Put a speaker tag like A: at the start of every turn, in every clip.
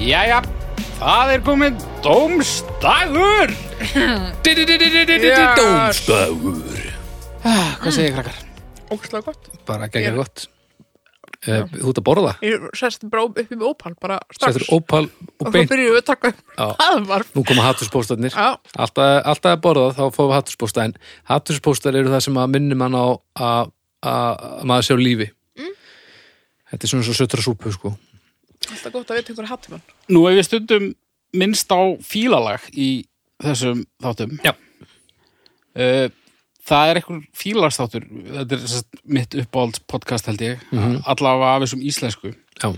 A: Jæja, það er komið dómstagur
B: Dómstagur
A: ah, Hvað segir krakkar?
C: ógstlega gott
B: Bara geggjað gott uh, Þú ert að borða
C: ég sest bara upp í ópal bara strax
B: Settur ópal og
C: og þá
B: beint
C: byrjum við að taka upp
B: Já.
C: það var
B: Nú koma hattuspóstarnir
C: Já.
B: alltaf, alltaf að borða þá fáum við hattuspósta En hattuspóstar eru það sem að minnum hann á að að maður sé á lífi
C: Mm.
B: Þetta er svona svo sötra súpu sko
C: alltaf gott að vita einhverja hattumann
A: Nú hef ég stundum minnst á fílalag í þessum þáttum
B: Já.
A: Eh, Það er eitthvað fílagsþáttur Þetta er satt, mitt uppáld podcast held ég mm -hmm. Allavega af þessum íslensku
B: Já,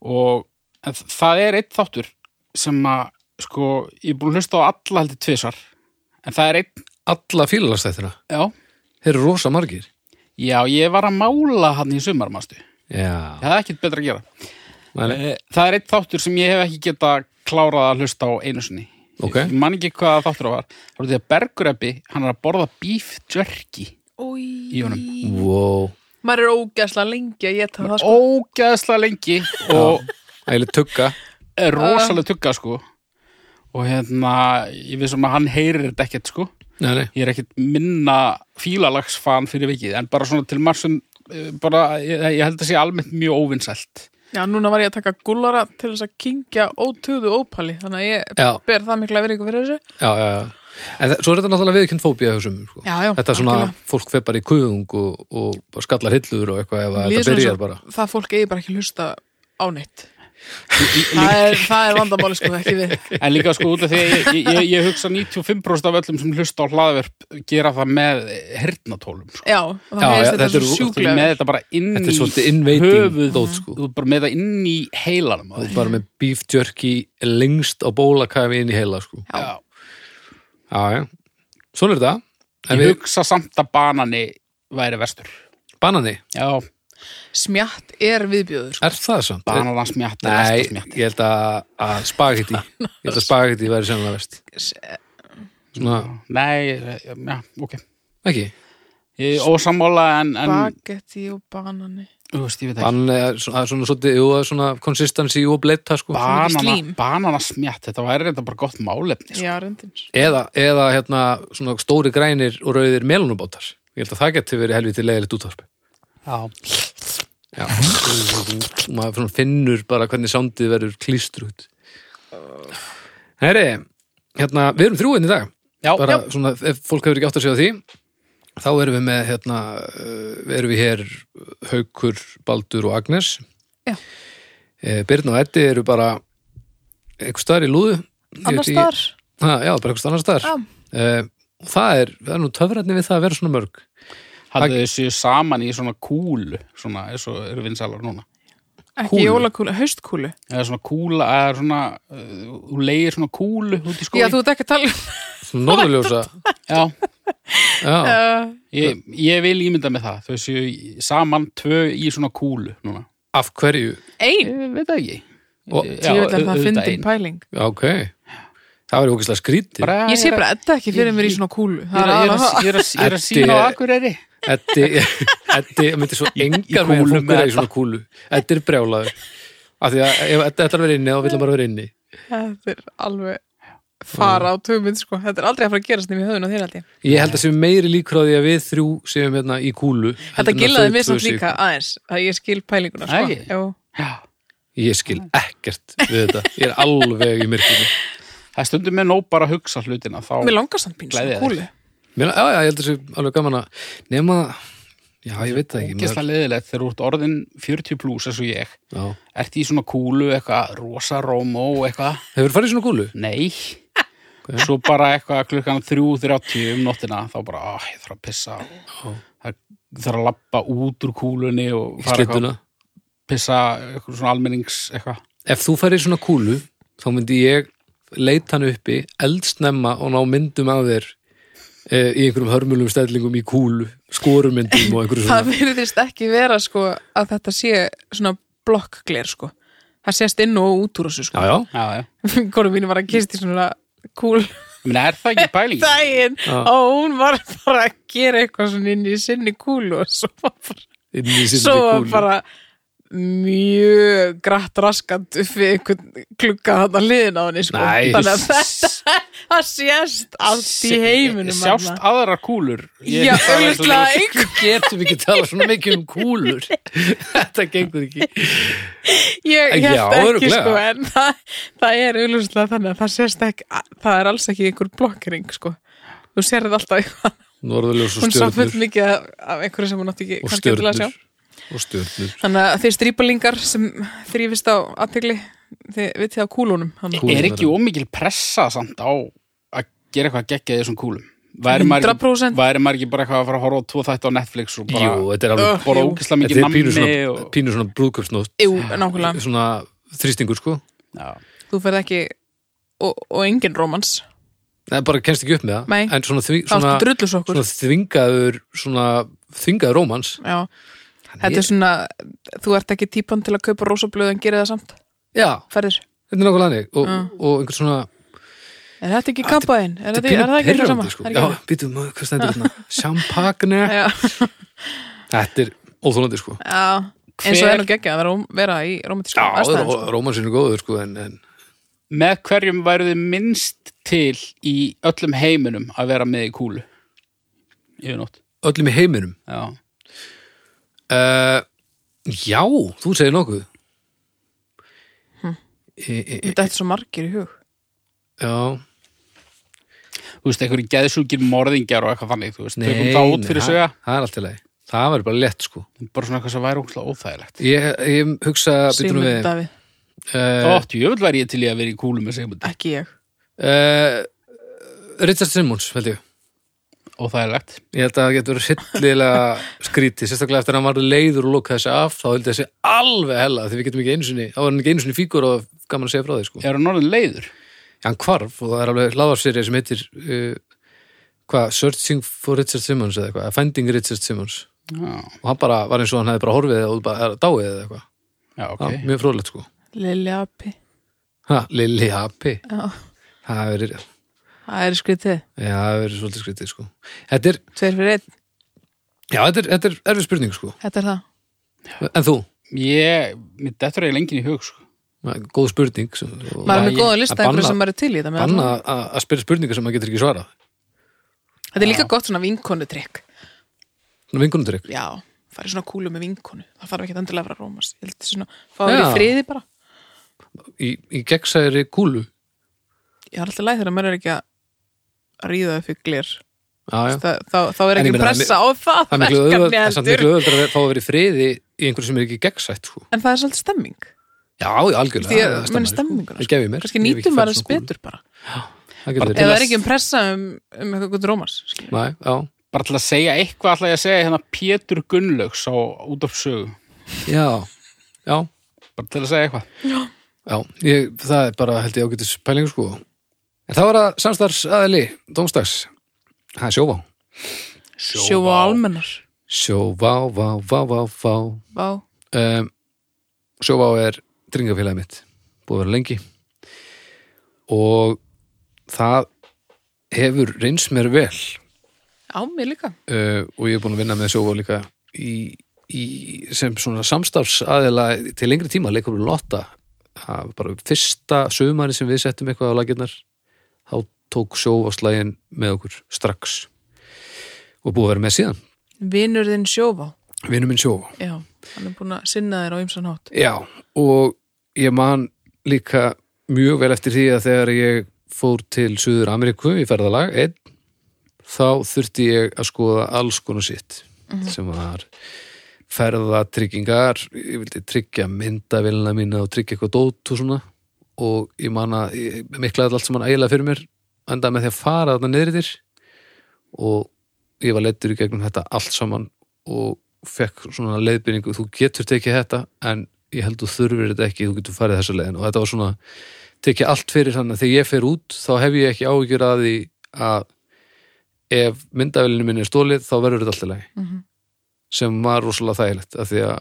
A: og en þ- það er einn þáttur sem að sko, ég er búin að hlusta á alla heldur tvisar en það er einn,
B: alla fílalagstættina
A: já
B: Þeir eru rosa margir
A: já, ég var að mála hann í sumarmastu
B: Já,
A: það er ekkert betra að gera
B: Nei,
A: Eh, það er einn þáttur sem ég hef ekki geta klárað að hlusta á einu sinni
B: Ok.
A: ég man ekki hvað þáttur það var þá er því að Bergreppi, hann er að borða beef jerky í honum
B: wow
C: maður er ógeðslega lengi að geta það sko.
A: ógeðslega lengi og
B: Ægileg tugga
A: er rosalega tugga sko og hérna, ég vissum að hann heyrir þetta ekkert sko
B: Nei, nei,
A: ég er ekkert minna fílalagsfan fyrir vikið, en bara svona til marg sem eh, bara, ég, ég held að sé almennt mjög óvinsælt.
C: já, núna var ég að taka gullara til þess að kingja ótöðu ópali þannig að ég
B: Já.
C: ber það mikla verið fyrir þessu
B: já, já, já. En það, svo er þetta náttúrulega viðkjönd fóbía hjá sumum, sko.
C: Já, já,
B: Þetta er svona,
C: algjörlega.
B: fólk fer bara í kuðung og, og skallar hillur og eitthvað ef að
C: Líður
B: þetta
C: svona
B: byrjar
C: svo-
B: bara
C: það fólk eigi bara ekki að hlusta á neitt það er, það er vandamáli sko ekki við
A: En líka sko út af því að ég, ég, ég, ég hugsa 95% af öllum sem hlusta á hlaðverp gera það með hernatólum sko.
C: já, og það
B: Já, já,
C: meðist
B: þetta
C: þetta
B: er-
A: Þú
C: svo
A: ert
C: sjúklega
A: með
C: vel.
A: þetta bara inn
B: Þetta er
A: í
B: svolítið innveiting
A: höfuð
B: dót, sko.
A: Þú ert bara með það inn í heilanum á
B: Þú
A: þér.
B: er bara með beef jerky lengst á bólakæfi inn í heila, sko.
C: Já.
B: Já, já. Svona er þetta. En
A: Ég
B: við,
A: hugsa samt að banani væri vestur
B: banani,
A: Já,
C: smjatt er viðbjöður sko.
B: er það samt?
A: bananansmjatt er
B: Nei,
A: vestursmjatt
B: ég held að, að spagetti, ég held að spagetti væri sennilega vest. Svona,
A: Nei, já, ok
B: ekki.
A: Ég er ósammála en, en
C: bagetti og banani
A: þú veist, ég veit ekki
B: Banani er svona, svona, svona, svona, svona konsistansi og bleita, sko.
C: mikið
A: banana,
C: slím.
A: bananasmjatt, þetta væri reynda bara gott málefni sko.
C: já, reyndins
B: eða, eða hérna svona stóri grænir og rauðir melunubótar ég held að það geti verið helviti leiðilegt útvarp
A: Já.
B: já og maður svona finnur bara hvernig sándið verður klístrut herri hérna, við erum þrjúin í dag
A: Já,
B: bara svona, ef fólk hefur ekki átt að segja því þá erum við með hérna, uh, erum við hér Haukur, Baldur og Agnes
C: Já.
B: Eh, Birna og Eddi eru bara einhver staðar í lúðu Ég veit
C: annars
B: ekki-
C: þar,
B: Ha, já, bara einhvers annars staðar.
C: Já.
B: Eh, og það er, það er nú töfrarni við það að vera svona mörg.
A: hafðu þau séu saman í svona kúlu svona, eins og eru vinsalar núna
C: ekki
B: kúlu.
C: jólakúlu, haustkúlu
A: eða svona kúla, eða svona uh, þú leigir svona kúlu út í skói
C: já, þú ert ekki að tala um
B: Svona norðurljósa.
A: Já,
B: Já,
C: uh,
A: ég, ég vil ímynda með það þau séu í- saman tvö í svona kúlu núna,
B: af hverju?
C: ein,
A: ég veit það ekki
B: Og-
A: Já,
C: ég vil að það
A: auðvitað ein.
C: fyndin pæling
B: Já, ok. Það verður ógislega skrítið.
A: Bara-
C: ég sé
A: er að-
C: bara edda ekki fyrir mér í svona kúlu
A: Ég er að-
C: það er
A: ég er að-
C: aðra
A: ég er að- ég er að
B: Eddi-
A: sína á Akureyri
B: Eddi, Eddi myndi svo engar
A: kúlu
B: með að
A: með
B: fungera í
A: þetta.
B: svona kúlu. Eddi er brjálaður. Af því að ef Eddi ætlar að vera inni, þá vil hann bara vera inni.
C: þetta er alveg fara á töminn sko, þetta er aldrei að fara að gerast nefnir höfðun á þér held ég
B: Ég held að sem meiri líkur á því að við þrjú séum hérna í kúlu. heldur
C: þetta
B: en að
C: gillaði
B: þau
C: mér
B: tvö
C: samt
B: séu-
C: líka aðeins að ég skil pælinguna sko
A: Æi.
C: Jú.
A: Já.
B: Ég skil ekkert við þetta. Ég er alveg í myrkinu.
A: Það er stundum með nóg bara að hugsa hlutina þá
C: mér langar samt pín svona
A: Gleðja þig.
C: kúlu
B: Mér, já, já, ég held að þessi alveg gaman að nema, já, ég veit það ekki
A: ógeðslega leðilegt þegar þú ert orðin 40 pluss eins og ég
B: já.
A: ert í svona kúlu, eitthvað rosa rómó eitthvað,
B: Hefur farið í svona kúlu?
A: nei svo bara eitthvað klukkan 3.30 um nóttina þá bara, ah, ég þarf að pissa það þarf að lappa út úr kúlunni og
B: Í
A: fara eitthvað
B: Slippuna?
A: að pissa eitthvað svona almennings eitthvað
B: Ef þú farið í svona kúlu, þá myndi ég leita hann uppi, eldsnemma og ná myndum af þér e, í einhverjum hörmulum stellingum í kúlu, skorumyndum og einhverju
C: það
B: svona.
C: virðist ekki vera sko að þetta sé svona blokkgler sko það sést inn og út úr þessu sko
B: Já, já,
A: já, já.
C: vinkonu mín var að kista í svona kúlu
A: Meni, er það ekki pæling?
C: daginn
B: Já.
C: og hún var bara að gera eitthvað svona inn í sinni kúlu og svo var bara,
B: inn í sinni
C: svo var
B: kúlu.
C: bara mjög grætt raskant upp við einhvern klukka hann að liðin á henni sko.
B: Nei.
C: þannig að þetta það sést allt í heiminum
A: Sjást
C: þarna.
A: aðra kúlur Ég-
C: Já,
A: það er svo-
C: auðvitað einhver
B: getum ekki talað svona mikið um kúlur þetta gengur ekki
C: ég
B: Já,
C: held ekki
B: örugglega.
C: sko en það, það er auðvitað þannig að það sést ekki það er alls ekki einhver blokkering sko þú sér þetta alltaf eitthvað
B: norðurljós og
C: hún sá full
B: stjörnur
C: mikið af- af einhverju sem hún átti ekki
B: og
C: kannski endilega að sjá.
B: stjörnur og stjörnur
C: þannig að þeir strípalingar sem þrýfist á aðtegli þið vitið á kúlunum hann.
A: Er ekki ómikil pressa samt á að gera eitthvað geggja þessum kúlum? Væri maður,
C: 100%.
A: væri maður ekki bara eitthvað að fara að horfa á tvo þætti á Netflix og bara
B: jú, þetta er alveg
A: borða
C: jú.
A: ógislega mikið
B: þetta er pínu
A: nammi
B: svona,
A: og...
B: pínu svona brúðköpsnótt
C: Jú, nákvæmlega,
B: svona þrýstingur sko
A: Já.
C: þú ferð ekki og, og engin rómans
B: Nei, bara kennst ekki upp með það
C: Nei.
B: en svona, því,
C: það
B: svona,
C: áttu drullus okkur
B: svona þvingaður svona þvingaður rómans
C: Já, þetta er svona þú ert ekki típan til að kaupa rósablöð en gera það samt,
B: já,
C: ferðir
B: þetta er nákvæmlega hannig og,
C: Já.
B: og einhvern svona
C: Er þetta
B: Ah,
C: ekki kampaðinn? Er þetta er
B: pínu
C: það ekki það
B: pirrandi,
C: sama?
B: sko.
C: Er
B: já,
C: ekki það?
B: býtum, hvað stendur þetta? champagne
C: Já,
B: þetta er óþólandi sko
C: já eins og
A: Hver-
C: er nú geggja að vera, vera í romantísku
B: Já,
C: aðstæðum sko.
B: rómansin er góður sko en, en
A: Með hverjum væru þið minnst til í öllum heiminum að vera með í kúlu? Yfir nótt.
B: öllum í heiminum
A: Já.
B: uh, Já, þú segir nokkuð
C: Hm.
B: e, e, e,
C: Þetta er svo margir í hug
B: Já,
A: Þú veist, einhverjum geðsúkir morðingjar og eitthvað þannig, þú veist,
B: nei,
A: tökum það út fyrir sögja.
B: það- Það er allt í lagi Það verður bara lett sko
A: Bara svona eitthvað sem væri ógislega óþægilegt.
B: Ég, ég hugsa, býtum
C: Sigmund
B: við uh,
C: Davíð,
B: uh,
A: Þótt, jöfnvel væri ég til í að vera í kúlu með segmund.
C: ekki ég
B: Eh, Richard Simmons, held ég
A: Óþægilegt.
B: Ég held að það getur hryllilega skrítið, sérstaklega eftir að hann var leiður og lokaði þessi af, þá held þessi alveg hella því við getum ekki einu sinni, þá var hann ekki einu sinni fíkur og gaman að segja frá því sko.
A: Er hann orðin leiður?
B: hann hvarf og það er alveg hláðarserið sem heitir uh, hvað, Searching for Richard Simmons eða eitthvað, Finding Richard Simmons
A: Já,
B: og hann bara var eins og hann hefði bara horfið og bara er að dáið eða eitthvað,
A: já,
B: okay.
A: ok.
B: mjög fróðlegt sko
C: Lilli Api
B: ha, Lilli Happy,
C: Já,
B: það hefur verið já,
C: það er skrítið,
B: það hefur verið svolítið skrítið sko þetta er,
C: tveir fyrir einn
B: já, þetta er, þetta er erfið spurning sko,
C: Þetta er það
B: en þú
A: Ég, mér dettur eiginlega enginn í hug, sko.
B: góð spurning sem,
C: maður er með
A: Lagi-
C: góðan lista
B: að
C: einhverju
B: banna-
C: sem maður er til í þetta með
B: banna
C: allan.
B: að að spyrja spurningar sem maður getur ekki svarað
C: þetta er líka gott svona vinkonu trikk
B: svona vingunundur ykkur
C: já, farið svona kúlu með vinkonu það þarf ekki endilega að vera rómas ég held þetta svona, fá
B: Já.
C: það í friði bara
B: í, í gegnsæri kúlu
C: ég er alltaf læg þegar maður er ekki að ríða upp í glir
B: já, já.
C: þá, þá, þá er
B: En ég
C: ekki
B: meina,
C: pressa á það
B: það er
C: verkefni
B: miklu auðvöld það er samt
C: heldur.
B: miklu auðvöld að fá að vera í friði í einhverju sem er ekki gegnsætt sko.
C: en það er svolítið stemming
B: já, já, algjörlega
C: Því ég
B: það
C: meina
B: stemmar, sko.
C: stemminguna,
B: það gefi mér
C: kannski nýtum maður þess betur bara
B: eða
C: ef það er ekki um pressa um, um eitthvað rómas skilur.
B: Nei, já,
A: Bara til að segja eitthvað ætla ég að segja hérna Pétur Gunnlaugs á útafsögu.
B: já, já,
A: Bara til að segja eitthvað.
B: já ég, það er bara held ég ágætis pæling sko en það var að samstarfs aðli dómstags, það er sjóvá
C: sjóa almennar
B: sjóvá, vá, vá, vá, vá
C: Vá.
B: um, sjóvá er tryggingafélagið mitt, búið að vera lengi og það hefur reyns mér vel
C: á mig líka
B: uh, og ég er búin að vinna með sjóvá líka í, í, sem svona samstafs aðeila til lengri tíma leikur við lotta það var bara fyrsta sögumari sem við settum eitthvað á laginnar þá tók sjóváslægin með okkur strax og búið að vera með síðan
C: vinur þinn sjóvá
B: vinnum minn sjóvá
C: já, hann er búin að sinna þér á ymsan hátt
B: Já, og ég man líka mjög vel eftir því að þegar ég fór til Suður Ameríku í ferðalag einn, þá þurfti ég að skoða alls konar sitt sem var ferðatryggingar, ég vildi tryggja myndavélina mína og tryggja eitthvað dót og svona og ég man að ég miklaði allt saman ægilega fyrir mér enda með því að fara þarna niðritir og ég var leittur í gegnum þetta allt saman og fekk svona leiðbyrningu, þú getur tekið þetta en ég held þú þurfir þetta ekki þú getur farið þessa leiðin og þetta var svona tekið allt fyrir þannig að þegar ég fer út þá hef ég ekki áhyggjur að því að ef myndavélinu minni er stólið þá verður þetta alltaf leið mm
C: Mhm.
B: sem var rosalega þægilegt af því að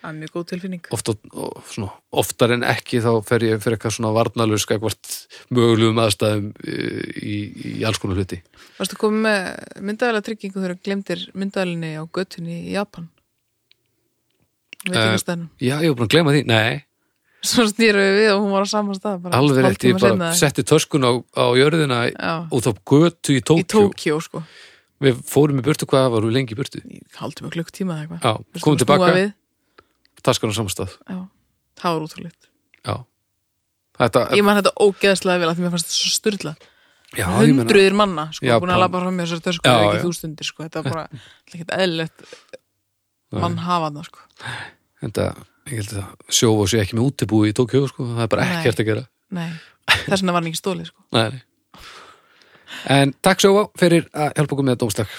C: það er mjög góð tilfinning
B: ofta, og svona, oftar en ekki þá fer ég fyrir eitthvað svona varnalus eitthvað mögulegum aðstæðum eh, í, í alls konar hluti
C: Varstu komið með myndavæla tryggingu þegar þú glemdir myndavælinni á göttunni í Japan? við
B: Eh,
C: kynastæðnum.
B: já, ég var búin að glema því, nei
C: Svo snýru við við og hún var á saman stað. Bara,
B: Eh, alveg rétt, ég
C: hálftíma seinna
B: bara
C: eða-
B: setti töskun á, á jörðina
C: Já,
B: út á götu í
C: í
B: Tókjú
C: Tókjó, sko.
B: við fórum í burtu, hvað varum við lengi í burtu
C: Haldum við klukk tíma eða eitthvað.
B: já,
C: Við
B: komum
C: skulum snúa
B: tilbaka,
C: við.
B: taskan á samastað
C: Já, það var útrúleitt.
B: já, þetta
C: Ég man þetta ógeðslega vel að því mér fannst þetta svo styrla.
B: Eh, já, ég meina-
C: Hundruðir manna, sko,
B: Já,
C: búin að
B: pán-
C: labba fram með þessar tösku
B: Já,
C: já, ekki
B: já.
C: þústundir, sko. Þetta var bara ekkert eðlilegt mann hafa það, sko.
B: þetta, ég held að sjófa sé ekki með útibúi í Tókjó sko, það er bara
C: Nei.
B: ekkert að gera
C: Nei, þess vegna var hann ekki stólið, sko.
B: nei, nei. en takk sjófa fyrir að hjálpa okkur með dómstak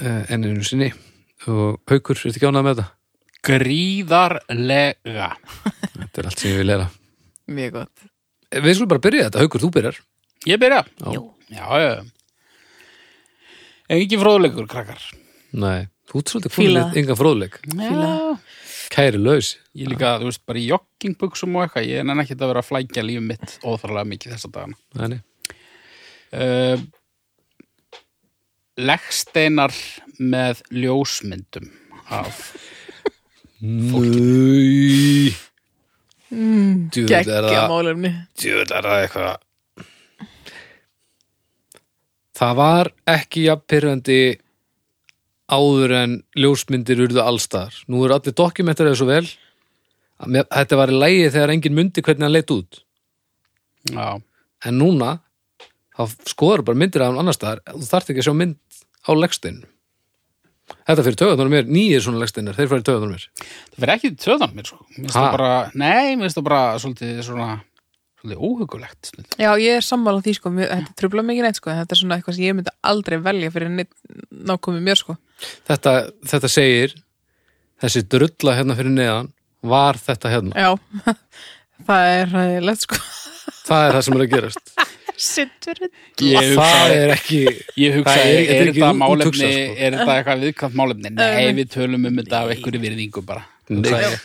B: eh, enn einu sinni og haukur, ertu ekki ánað með þetta?
A: Gríðarlega.
B: þetta er allt sem ég vil læra
C: Mjög gott.
B: Eh, við skulum bara byrja þetta, haukur, þú byrjar
A: Ég byrja.
B: Já. Jú.
A: Já, já. Engin fróðleikur, krakkar.
B: nei, þú ert svolítið
C: Fíla.
B: komin engan fróðleik
A: Já.
B: kæri laus
A: Ég líka, þú veist, bara í joggingbuxum og eitthvað. Ég nenni ekki að vera að flækja lífum mitt óþarlega mikið þessa dagana.
B: nei, nei.
A: Uh, leggsteinar með ljósmyndum af
B: Nei. Djöfull er
C: Gekkja
B: það-
C: málefni.
B: djöfull er það eitthvað það var ekki jafn pyrrandi áður en ljósmyndir urðu allstar nú eru allir dokumentar eða svo vel að mér- þetta var í lægi þegar enginn myndi hvernig hann leit út
A: Já,
B: en núna þá skoður bara myndir af hann annars staðar þú þarft ekki að sjá mynd á legsteinu þetta fyrir töðanum mér nýjir svona legsteinar, þeir fyrir töðanum mér
A: það fyrir ekki til töðan mér sko Mér finnst
B: Ha?
A: það bara, nei, mér finnst það bara svolítið svona, svolítið óhugulegt stundum.
C: Já, ég er sammála því, sko. Mér, þetta trubla mikið neitt, sko. en Þetta er svona eitthvað sem ég myndi aldrei velja fyrir neitt nákomið mér, sko.
B: þetta, þetta segir þessi drulla hérna fyrir neðan var þetta hérna
C: Já, það er ræðilegt, sko.
B: það er það sem er að gerast
C: Sittur við.
A: Ég
B: það
A: hugsaði,
B: er ekki
A: ég
B: það
A: hugsaði er,
B: er- þetta er ekki
A: þetta
B: út-
A: málefni,
B: úthugsað, sko.
A: er þetta eitthvað viðkvæmt málefni? Nei,
C: Nei.
A: við tölum um þetta af einhverju virðingu bara
B: Nei.
A: Hugsaði ég.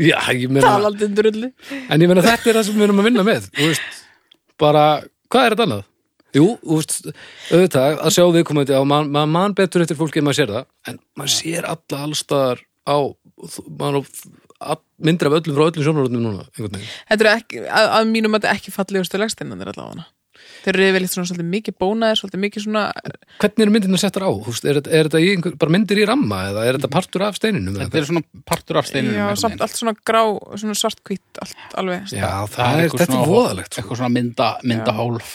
B: já, ég meina,
C: Talandi drulli.
B: en ég meina þetta er það sem við erum að vinna með þú veist, bara, hvað er þetta annað? Jú, þú veist, auðvitað að sjá viðkomandi á, maður man, man betur eftir fólki en maður sér það, en maður sér alla allstaðar á maður á all, myndir af öllum frá öllum sjónarotnum núna, einhvern veginn
C: Þetta eru ekki, að, að mínum að þetta ekki fallegustu legsteinan er allavega hana. Þeir eru yfirleitt svona svolítið mikið bónaðir, svolítið mikið svona,
B: hvernig eru myndirna settar á? Þú veist, Er, þetta- er þetta í einhver, bara myndir í ramma eða er þetta partur af steininum? eða
A: Þetta er svona partur af steinunum
C: já,
A: einhvern
C: samt
A: veginn.
C: allt svona grá, svona svartkvít, allt alveg.
B: Já, það, er,
A: eitthvað
B: þetta er
A: svona-
B: voðalegt sko.
A: Eitthvað svona mynda, mynda hálf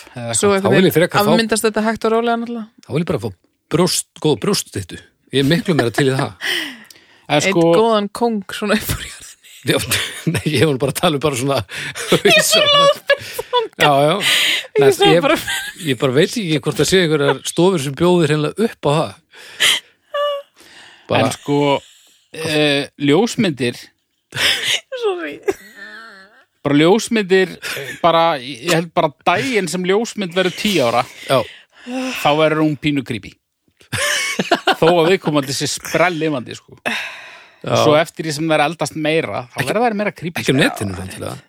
C: Svo
B: þá vil ég
C: eitthvað,
B: frekar fá-
C: afmyndast þetta hægt og rólega náttúrulega.
B: Þá vil ég bara fá brjóst, góð brjóst þittu Ég er miklu meira til í það
A: En
C: Eitt
A: sko,
C: góðan kong svona upp úr jörðinni.
B: Já, nei, ég var bara að tala um bara svona Já, já Nei,
C: sá
B: ég,
C: bara-
B: ég bara veit ekki hvort það sé einhverjar stofur sem bjóðir hreinlega upp á það
A: en
B: bara,
A: sko e, ljósmyndir
C: Sorry.
A: bara ljósmyndir eh, bara, ég held bara daginn sem ljósmynd verður tí ára
B: já,
A: þá verður hún pínu creepy þó að viðkomandi sé sprellifandi sko. svo eftir því sem það er eldast meira þá verður það meira creepy
B: ekki á
A: sko.
B: netinu þannig að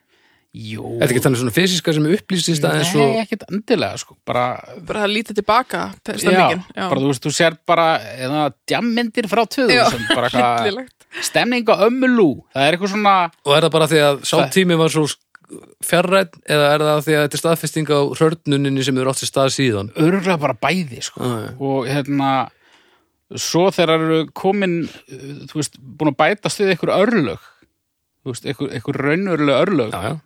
A: Jú,
B: Þetta ekki þannig svona fysiska sem upplýsist aðeins
A: nei,
B: og
A: ekkert endilega sko. bara,
C: Bara að líta tilbaka,
A: já,
C: stemmingin. Já,
A: bara þú veist, þú sér bara eða, djammyndir frá töðu
C: Já,
A: bara eitthvað
C: hryllilegt.
A: stemning á ömmulú það er eitthvað svona
B: og er það bara því að sá tími var svo fjarrætt eða er það því að þetta er staðfesting á hörnuninni sem eru átt sér stað síðan
A: örgulega bara bæði sko.
C: Ah,
A: og hérna svo þegar eru komin uh, þú veist, búin að bætast við einhver örlög þú veist, einhver, einhver raunverulega örlög
B: Já, já,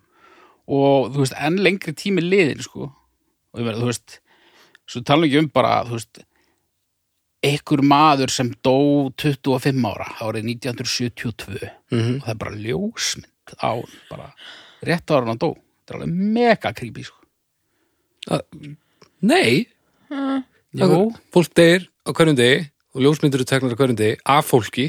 A: og þú veist, enn lengri tími liðin sko, og ég verið, þú veist svo tala ekki um bara, þú veist einhver maður sem dó 25 ára, árið 1972
B: Mhm.
A: og það er bara ljósmynd á, honum, bara rétt ára hann dó, þetta er alveg mega creepy sko.
B: Nei,
A: Jú.
B: fólk deyr á hverjum degi og ljósmyndir eru teknar á hverjum degi af fólki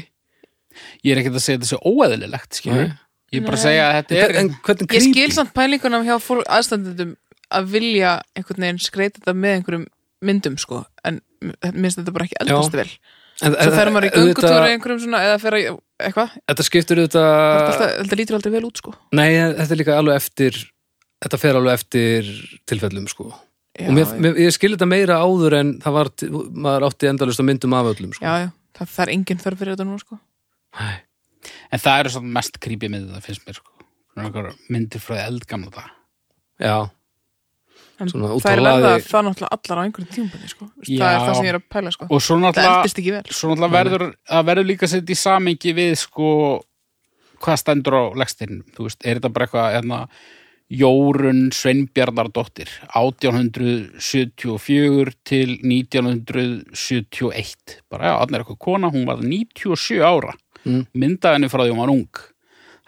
A: ég er ekkert að segja þetta sé óeðlilegt skilur,
B: Nei.
A: ég er bara að segja að þetta er
B: en
C: Ég
B: hvernig creepy?
C: skil samt pælingunum hjá fólk aðstandendum að vilja einhvern veginn skreita þetta með einhverjum myndum, sko, en minnst þetta bara ekki eldast vel.
B: en,
C: Svo fer maður í
B: auðvitað-
C: göngutúri einhverjum svona eða fer að, eitthvað,
B: Þetta skiptur
C: þetta,
B: auðvitað
C: alltaf- þetta lítur aldrei vel út sko.
B: Nei, en þetta er líka alveg eftir Þetta fer alveg eftir tilfellum sko
C: Já,
B: og mér, mér, ég skil þetta meira áður en það var, til- maður átti endalust á myndum af öllum sko.
C: já, já, það, það er engin þörf fyrir þetta nú sko.
B: Æ,
A: en það eru svona mest creepy myndið það finnst mér sko Svona einhverjar myndir frá því eldgamla það
B: já,
C: En
B: Svona út á
C: það er verða
B: laði-
C: það náttúrulega allar á einhverjum tímpandi sko. Þú veist, það
A: Já.
C: er það sem ég er að pæla sko.
A: og svo
C: það
A: náttúrulega
C: eldist ekki vel
A: svo náttúrulega verður það verður líka sett í samingi við sko hvað stendur á legstirnum þú veist, er þetta bara eitthvað hérna, Jórun Sveinbjarnardóttir 1874 til 1971 bara já, þannig er eitthvað kona hún var 97 ára
B: Mm.
A: myndaði henni frá því hún var ung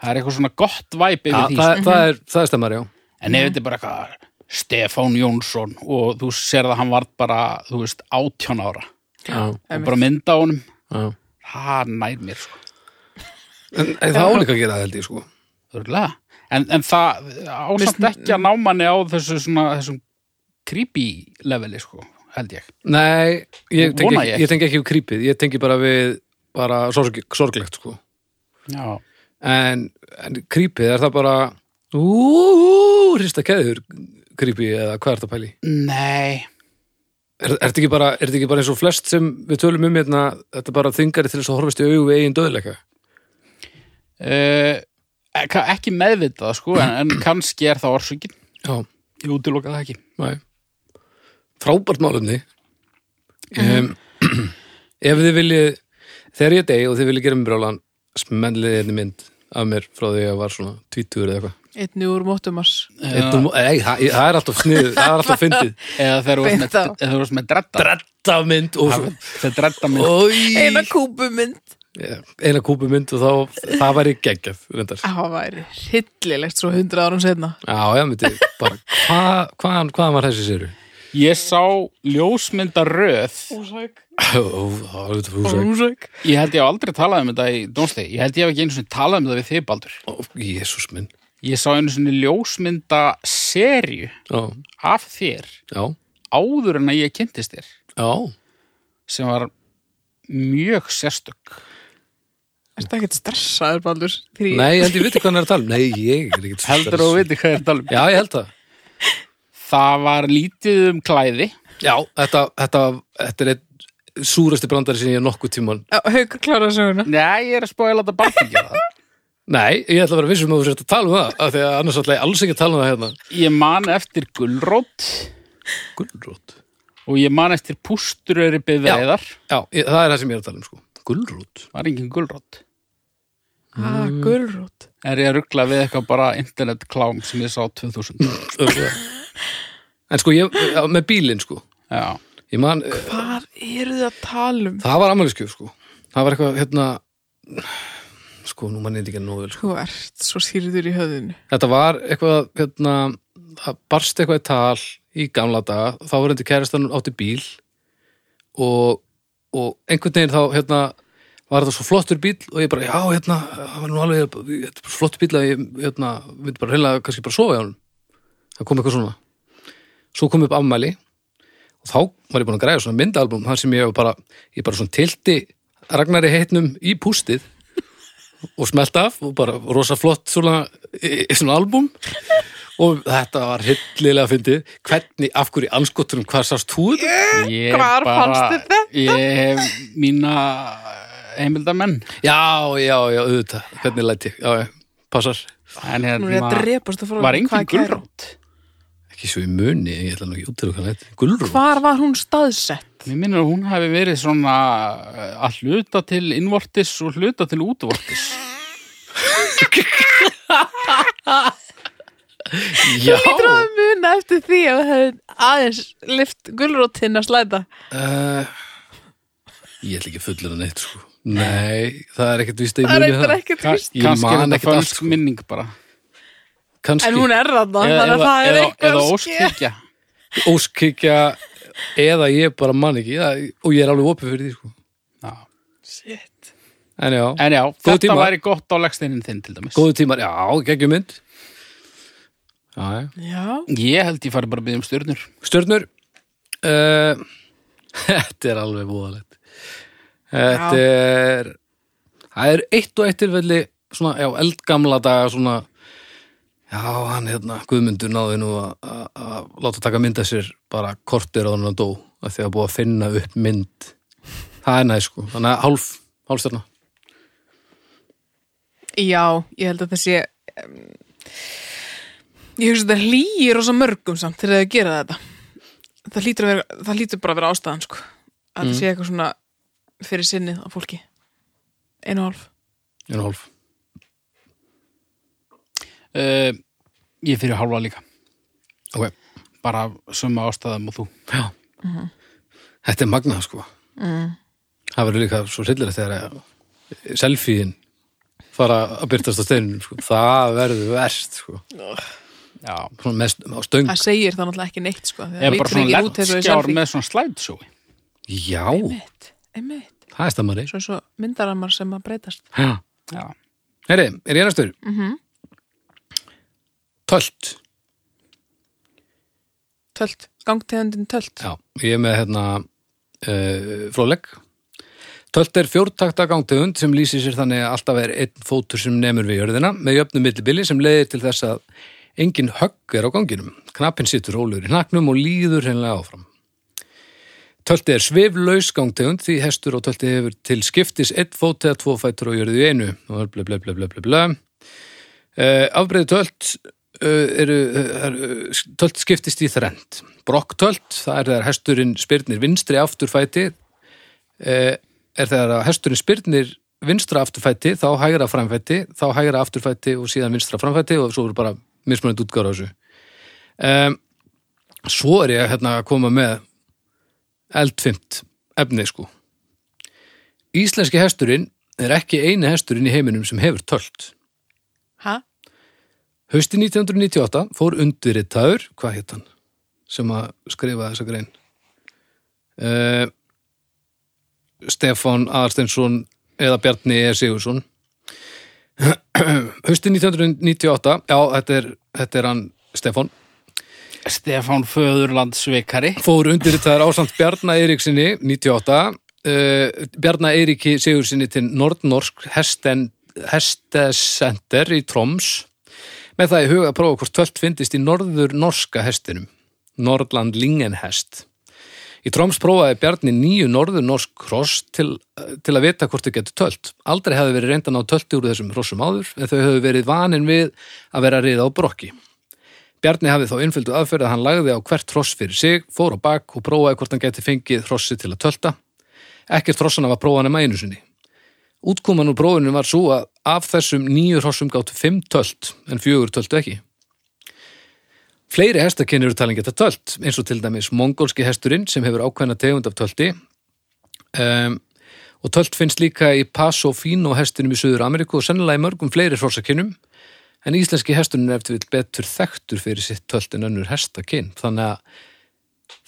A: það er eitthvað svona gott væp yfir
B: ja,
A: því sko.
C: sko.
B: það,
C: Mhm.
B: það, er, það er stemmar, já
A: En ef þetta er bara eitthvað Stefán Jónsson og þú sér að hann var bara, þú veist, 18 ára
B: já,
A: og
C: Einmitt.
A: bara mynda á honum
B: já.
A: það nær mér, sko,
B: En, en það álíka að gera það held ég sko
A: þurrlega en, en það ásamt
C: Mist-
A: ekki að ná manni á þessu svona, þessum creepy leveli, sko, held ég
B: Nei, ég tengi,
A: Vona
B: ekki,
A: ég.
B: ég tengi ekki við krípið, ég tengi bara við bara sorg, sorglegt sko
A: Já,
B: en, en krípið er það bara úúú, hrista keður krípið eða hvað er það pæli?
A: nei
B: Er, er, þetta ekki bara, er þetta ekki bara eins og flest sem við tölum um hérna, þetta er bara þingari til þess að horfast í augu við eigin döðleika?
A: uh, ekki meðvitað, sko en, en kannski er það orsökin
B: Já,
A: ég útiloka það ekki
B: næ Frábært málumni um, Ef þið viljið þegar ég degi og þið viljið gera mér brjólan smennliðið einni mynd af mér frá því að ég var svona tvítugur eða eitthvað
C: einnig úr mótumars
B: Eitt úr mó- Nei, það, það er alltaf sniðu, það er alltaf fyndið
A: eða þegar þú varst
C: Beint
A: með,
C: á.
A: eða þú varst með dredda
B: Dreddamynd og svo
A: þegar dredda minn
C: eina kúpumynd
B: Já, Eina kúpumynd og þá, það væri geggjaf reyndar.
C: það væri hryllilegt svo hundra árum setna
B: Já, ég myndi bara, hvað, hvaðan, hvaðan var þessi séru?
A: ég sá ljósmyndaröð
C: húsæk
B: Ó,
C: húsæk
A: Ég held ég hef aldrei talað um þetta í Dómsli Ég held ég hef ekki einu sinni talað um þetta við þig, Baldur
B: Jésús minn
A: Ég sá einu sinni ljósmynda serju
B: Já,
A: af þér
B: já,
A: áður en að ég kynntist þér
B: já
A: sem var mjög sérstök
C: er það ekkert stressaður Baldur Þegar ég-
B: Nei, ég held ég viti hvað hann er að tala um Nei, ég er ekkert
A: Heldur þú viti hvað ég er að tala um
B: Já, ég held það
A: Það var lítið um klæði
B: Já, þetta, þetta, þetta er einn súrasti brandari sem ég nokkuð tíman
C: Já, haukur klára söguna
A: Nei, ég er að spóla þetta Baldur gera það
B: Nei, ég ætla að vera vissum að þú sért að tala um það af því að annars ætla ég alls ekki að tala um það hérna
A: Ég man eftir gullrótt
B: Gullrót
A: og ég man eftir pústuröri bifreiðar
B: Já, ég, það er það sem ég er að tala um sko Gullrót
A: var engin gullrótt Mm.
C: ah, gulrót
A: Er ég að ruggla við eitthvað bara internetklám sem ég sá 2000
B: Örugglega. En sko, ég, já, með bílinn sko
A: Já,
B: Ég man, eh,
C: hvað eru þið að tala um
B: það var ammæliskjöf sko Það var eitthvað, hérna Sko, nú mann eitthvað nóvel sko
C: þú ert svo sýrður í höfðinu
B: Þetta var eitthvað, hérna Það barst eitthvað í tal í gamla daga Þá var þetta kæristan átti bíl og, og einhvern veginn þá, hérna var þetta svo flottur bíl og ég bara, já, hérna það var nú alveg, þetta er bara flottur bíl að ég, hérna, myndi bara reyna kannski bara sofa í honum það kom eitthvað svona svo kom upp afmæli og þá var ég búin að græða svona myndaalbum þar sem ég bara, ég bara svona tilti Ragnari heitnum í pústið og smelt af og bara rosa flott svona, e, svona album og þetta var hillilega fyndið hvernig, af hverju anskotunum hvað sást þú þetta?
A: Ég
C: Hvar
A: bara-
C: fannstu þetta?
A: Ég hef mína heimildamenn
B: Já, já, já, auðvitað, hvernig læti ég, já, já, passar
A: en
C: nú er ég að
A: hérna
C: drepast að fara
A: var engin gulrót
B: Ekki svo í muni, ég ætla nú ekki út til okkar læti Gulrú,
C: hvar var hún staðsett
A: Mér minnir að hún hafi verið svona eh, að hluta til innvortis og hluta til útvortis
B: já
C: Lítur að muna eftir því að við hefum aðeins lift gulrótinn að slæta
B: uh, Ég ætla ekki að fullur að neitt, sko Nei, það er ekkert víst að ég
C: Það er
B: muni
C: eftir ekkert
A: Ka-
C: víst.
B: Ég
A: Kannski
B: man
A: er þetta
B: ekkert allt,
A: fölsk
B: sko.
A: minning bara
B: Kanski,
C: En hún er þarna,
A: eða,
C: þannig að
A: eða,
C: það er
A: eða,
C: eitthvað
A: eða
C: að ske-
A: óskikja
B: óskikja eða ég bara mann ekki já, og ég er alveg opið fyrir því, sko
C: Shit.
B: En já,
A: En já,
B: Góð
A: þetta
B: tíma.
A: væri gott á legsteinin þinn til dæmis
B: góðu tímar, já, geggjum mynd Já, já
C: Já,
A: Ég held ég fari bara að byggja um stjörnur
B: Stjörnur uh, Þetta er alveg voðalegt Þetta er Það er eitt og eitt tilfelli svona, já, eldgamla daga svona Já, hann hérna, Guðmundur náði nú að- að að láta taka mynda sér bara kortir á hann að dó af því að búið að finna upp mynd Það er næ, sko, þannig að hálf, hálf stjörna
C: Já, ég held að það sé um, ég hugsa að þetta hlýir rosa mörgum samt þegar þau gera þetta það hlýtur, að vera, það hlýtur bara að vera ástæðan sko. að
A: Mm.
C: það sé eitthvað svona fyrir sinnið á fólki einu og hálf
B: en hálf
A: uh, ég fyrir hálfa líka
B: Ok.
A: bara summa ástæðum og þú
B: Já. Þetta er magnað sko. Það verður líka svo hryllir þegar að selfiein fara að byrtast á steinunum sko. Það verður verst sko.
A: já,
B: Svona mest á stöng.
C: það segir það náttúrulega ekki neitt sko,
A: ég er bara svona lettskjár með svona slæðsjói
B: Já,
C: einmitt, einmitt,
B: það er stammari.
C: svo eins og myndaramar sem að breytast
B: Heri,
A: já,
B: er ég einastur? Mm -hmm. Tölt.
C: tölt, gangtegundin tölt
B: Já, ég er með hérna uh, fróleg. Tölt er fjórtakta gangtegund sem lýsir sér þannig að alltaf er einn fótur sem nemur við jörðina með jöfnum millibili sem leiðir til þess að engin högg er á ganginum. Knappin situr rólegur í hnaknum og líður hennilega áfram. Tölti er sviflaus gangtegund því hestur og tölti hefur til skiptis einn fót eða tvo fætur og jörðu í einu og blö, blö, blö, blö, blö, blö. Uh, afbreiði tölt uh, eru, uh, tölt skiptist í þrend. Brokktölt, það er þegar hesturinn spyrnir vinstri afturfæti, uh, er þegar að hesturinn spyrnir vinstra afturfæti, þá hægra framfæti, þá hægra afturfæti og síðan vinstra framfæti og svo eru bara mismunandi útgára á þessu. Um, svo er ég hérna að koma með eldfimt efni sko. Íslenski hesturinn er ekki eini hesturinn í heiminum sem hefur tölt.
C: ha?
B: Hausti 1998 fór undirritaður, hvað hétt hann, sem að skrifa þessa grein? Uh, Stefán Aðarsteinsson eða Bjarni E. Sigursson. Hausti 1998, já, þetta er, þetta er hann Stefán,
A: Stefán Föðurlandsveikari
B: fór undirritaður ásamt Bjarna Eiríksinni 98 uh, Bjarna Eiríki Sigursinni til Nordnorsk Hesten, Hestesenter í Troms með það í huga að prófa hvort tvöld fyndist í norður norska hestinum Nordland Lingenhest Í Troms prófaði Bjarni nýju norður norsk kross til, til að vita hvort þau getur tölt. Aldrei hefði verið reyndan á tölti úr þessum hrossum áður en þau hefðu verið vanin við að vera riða á brokki. Bjarni hafði þá innfylgdu aðferð að hann lagði á hvert hross fyrir sig, fór á bak og prófaði hvort hann geti fengið hrossi til að tölta. Ekkert hrossana var prófað nema einu sinni. Útkoman úr prófinu var svo að af þessum nýju hrossum gáttu fimm tölt, en fjögur töltu ekki. Fleiri hestakynni eru talin geta tölt, eins og til dæmis mongolski hesturinn sem hefur ákveðna tegund af tölti. Um, og tölt finnst líka í Paso Fino hestinum í Suður Ameríku og sennilega í mörgum fleiri hrossakinnum en íslenski hesturinn er eftir vil betur þekktur fyrir sitt tölt en önnur hestakinn þannig að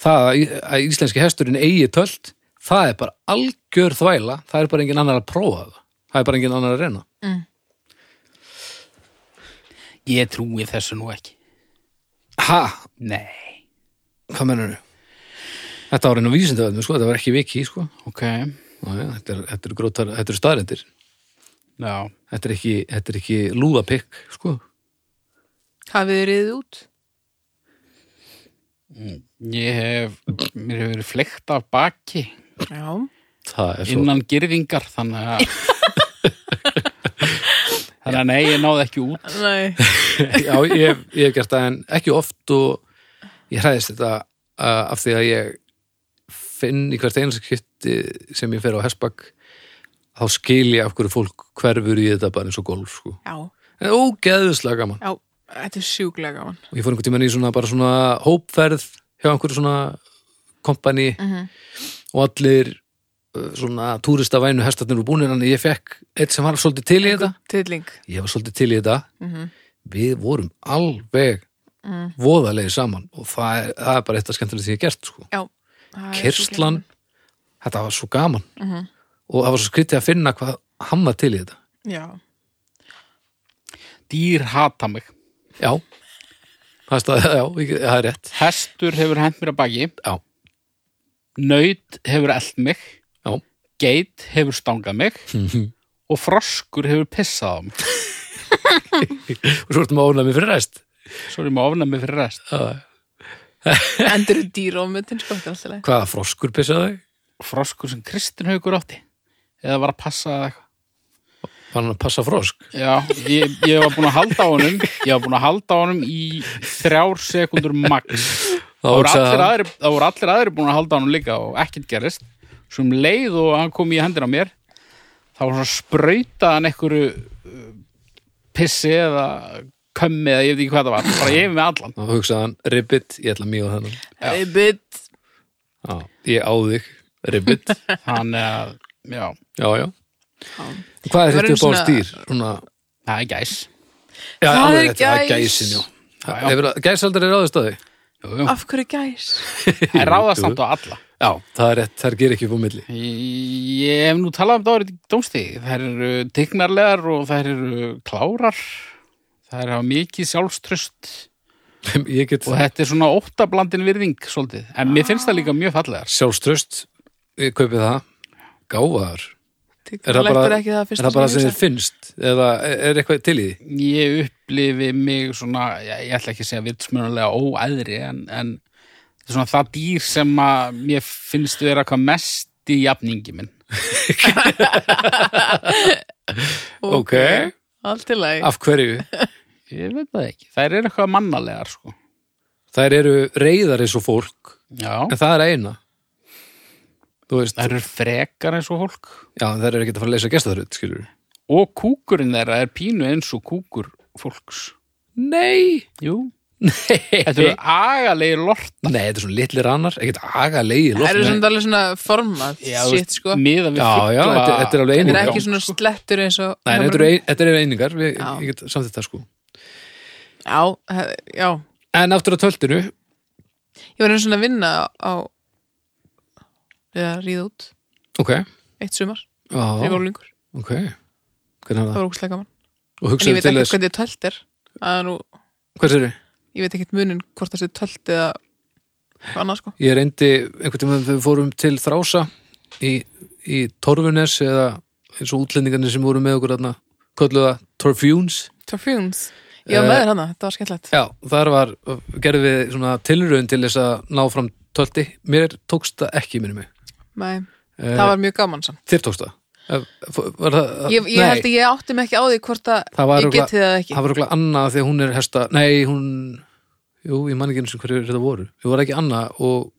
B: það að í- að íslenski hesturinn eigi tölt það er bara algjör þvæla það er bara engin annar að prófa það það er bara engin annar að reyna
A: ég trúi þessu nú ekki
B: ha,
A: nei,
B: hvað mennur þau? þetta var einu vísindavöðum sko, þetta var ekki viki sko.
A: ok
B: Ná, ja, þetta er, þetta er, grótar, þetta er staðrendir
A: já,
B: þetta er ekki, þetta er ekki lúðapikk sko.
C: hafið þið riðið út?
A: ég hef mér hefur verið fleikt af baki
C: já,
B: það er svo
A: innan girðingar þannig að þannig að nei, ég náði ekki út
C: nei
B: Já, ég, hef- ég hef gert það en ekki oft og ég hræðist þetta uh, af því að ég finn í hvert einasta kjötti sem ég fer á hessbakk þá skil ég af hverju fólk hverfur í þetta bara eins og golf sko.
C: já,
B: En ógeðuslega gaman.
C: já, þetta er sjúklega gaman
B: Og ég fór einhvern tímann í svona bara svona hópferð hjá einhverju svona kompani og allir uh, svona túristavænu hestarnir og búnir en ég fekk eitt sem var svolítið til í þetta
C: tilling,
B: ég var svolítið til í þetta
C: Mhm.
B: við vorum alveg voðalegi saman og það er, það er bara eitt af skemmtilega því ég hef gert sko.
C: já það er Mhm.
B: Kyrslan, þetta var svo gaman og það var svo skrítið að finna hvað hann var til í þetta
C: sjúklega gaman. já,
A: dýr hata mig
B: já, það er, stað, já, ég- það er rétt
A: hestur hefur hent mér að baki
B: já,
A: naut hefur eld mig
B: já, Mhm.
A: geit hefur stangað mig og froskur hefur pissað á mig
B: og svo ertum að ónæmi fyrir rest
A: svo er ég maður ofnað mig fyrir rest
B: Já.
C: endur dýr og mötin sko, þetta er alltaf leið
B: hvaða froskur pissaði
A: froskur sem Kristinn haukur átti eða var að passa eða eitthvað
B: já, var hann að passa frosk
A: Já, ég, ég var búin að halda á honum ég var búin að halda á honum í þrjár sekundur max þá voru
B: hugsaði
A: allir,
B: hann-
A: aðrir, þá voru allir aðrir búin að halda á honum líka og ekkert gerist svo um leið og hann kom í hendina á mér þá var svona sprautað hann einhverju uh, pissi eða kömmi eða ég veit ekki hvað það var bara ég með allan
B: og hugsaði hann, ribbit, ég ætla mjög á þennan
C: Hey, bit.
B: já, ég á þig, ribbit
A: þannig að, já,
B: já, já hvað er
C: Verðum
B: þetta upp á
C: svona-
B: stýr? Svona,
A: það er gæs
B: já,
C: Það
B: alveg
C: er
B: rétt, það er
C: gæs.
B: gæsin, já
A: Já, já.
B: Hefur- Gæsaldar er ráðist á því
A: Jú, jú.
C: Af hverju gæs?
A: það er ráðast samt á alla
B: já, það er rétt, þær ger ekki upp á milli
A: Ég hef nú talað um það árið dómstegi. Þær eru dignarlegar og þær eru klárar. Þær hafa mikið sjálfströst
B: ég get
A: og þetta er svona óttablandin virðing svolítið. En mér finnst það líka mjög fallegar.
B: sjálfströst, ég kaupi það gáfaðar er það
C: Lektur
B: bara,
C: ekki það
B: er
C: fyrst
B: það bara sem þér finnst eða er eitthvað til í því?
A: Ég upplifi mig svona, ég, ég ætla ekki að segja vitsmjönulega óæðri en, en þetta er svona það dýr sem að mér finnst vera hvað mest í jafningi minn.
B: Ok.
C: Allt í lagi
B: af hverju?
A: Ég veit það ekki. Þær eru eitthvað mannalegar sko.
B: þær eru reyðar eins og fólk
A: Já,
B: en það er eina þú veist,
A: þær eru frekar eins og hólk.
B: já, þær eru ekkert að fara að leysa gestaðröð skilur
A: og kúkurinn þeirra er pínu eins og kúkur fólks
B: nei
A: Jú, þetta
B: nei,
A: eru agalegi lort
B: þetta er svona litli rannar ekkert agalegi
C: Það eru
B: loft
C: samt alveg svona format shit sko
A: miða við
B: Já, já,
A: fugla-
B: þetta- þetta er
C: Það
B: alveg eining.
C: er ekki svona slettur eins og
B: Nei, þetta eru ein- þetta eru einingar, við,
C: Já.
B: ég get samt þetta sko
C: Já, það- já
B: en aftur á töltinu
C: Ég var einu svona að vinna á við að ríða út
B: ok,
C: eitt sumar, ég var
B: já,
C: úlingur
B: ok hvernig er
C: það
B: það?
C: var ógustlega gaman en
B: og
C: ég
B: hugsaðu
C: veit
B: til
C: ekki
B: þess,
C: hvernig tölt er að nú,
B: hvað sér
C: ég veit ekki munin hvort það sé tölt eða hvað annað sko
B: Ég reyndi einhvern tímann þegar við fórum til Þrása í, í Torfunes eða eins og útlendingarnir sem voru með okkur þarna, kölluða Torfjúns.
C: Torfunes, ég var
B: Eh,
C: með þér hana, þetta var skemmtilegt
B: Já, þar var, gerðum við svona tilraun til þess að ná fram tölti. Mér tókst það ekki, minni mig.
C: Nei,
B: Eh,
C: það var mjög gaman samt
B: Þér tókst það? Eh, f- Var það
C: ég, ég held að ég átti mig ekki á því hvort
B: Það
C: að
B: var
C: ég
B: örugglega-
C: geti það ekki
B: Það var okkur annað þegar hún er hesta, nei, hún, jú, ég man ekki eins og hverju þetta voru. Ég var ekki annað og,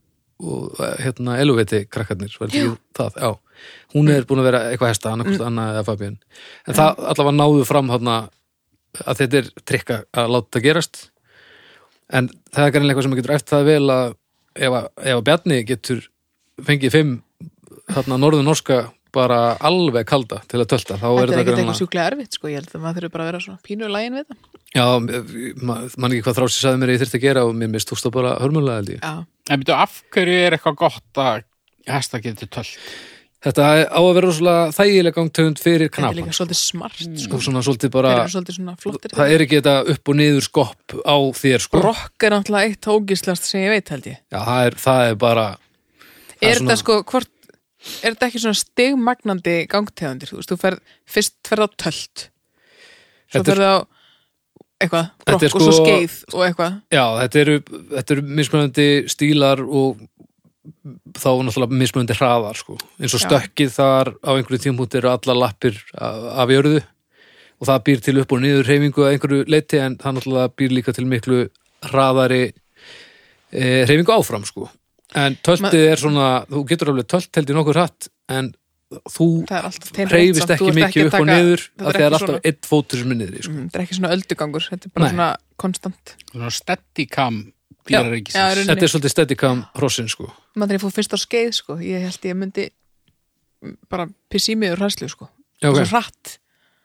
B: og eh, hérna, eluveti krakkarnir, var þetta ekki það, já. Hún er búin að vera eitthvað hesta, annarkvist mm. annað eða Fabian. En það allavega náðu fram hana, að þetta er trikk að- að láta það gerast. En það er greinlega eitthvað sem maður getur eftir það vel að ef, að, ef að Bjarni getur fengið fimm þarna norður norska bara alveg kalda til að tölta, þá er
C: Þetta er
B: þetta
C: ekki
B: greinilega-
C: eitthvað sjúklega erfitt sko, ég held að maður þurfi bara að vera svona pínu lægin við það
B: Já, ma- man ekki hvað þrási saði mér að ég þyrfti að gera og mér mist tókst það bara hörmulega held ég.
C: Já,
A: En byrju, af hverju er eitthvað gott að hesta getur tölt?
B: Þetta á að vera rosalega þægileg gangtönd fyrir
C: þetta er líka
B: knapan.
C: svolítið smart sko.
B: Og svona svolítið Mm. bara,
C: Þeir eru svolítið svona flottir
B: það er ekki þetta upp og niður skopp á þér sko.
C: Rokk er náttúrulega eitt ógislast sem ég veit held ég
B: Já, það er, það er bara, Það er
C: Er
B: svona-
C: þetta sko, hvort Er þetta ekki svona stigmagnandi gangtegundir Þú veist, þú ferð, fyrst ferð á tölt Svo
B: Þetta er-
C: ferð á eitthvað,
B: Þetta
C: brokk
B: er
C: og svo
B: sko-
C: skeið og eitthvað
B: já, þetta eru, þetta eru mismunandi stílar og þá náttúrulega mismunandi hraðar sko. Eins og
C: Já.
B: stökkið þar á einhverju tímpúti eru allar lappir af, af jörðu og það býr til upp og niður reyfingu að einhverju leiti en það náttúrulega býr líka til miklu hraðari e, reyfingu áfram sko. En töltið er svona, þú getur alveg tölt held í nokkuð hratt en þú
C: Það er alltaf teinrétt
B: reyfist
C: samt, þú
B: ekki
C: ert
B: mikið
C: að
B: upp og
C: taka-
B: niður
C: þetta
B: að það er
C: ekki
B: alltaf
C: svona-
B: einn fótur sem er niður í sko.
C: Mm, Þetta er ekki svona öldugangur, þetta er bara
B: Nei.
C: svona konstant
A: Svona steadicam
B: Já,
A: dýraríkisins.
C: já, í rauninni.
B: Þetta er svolítið steadicam hrossin sko.
C: Maður þegar ég fór fyrst á skeið sko, ég held ég myndi mm, bara pissi mig úr hræslu sko
B: Já, ok.
C: Svo hratt,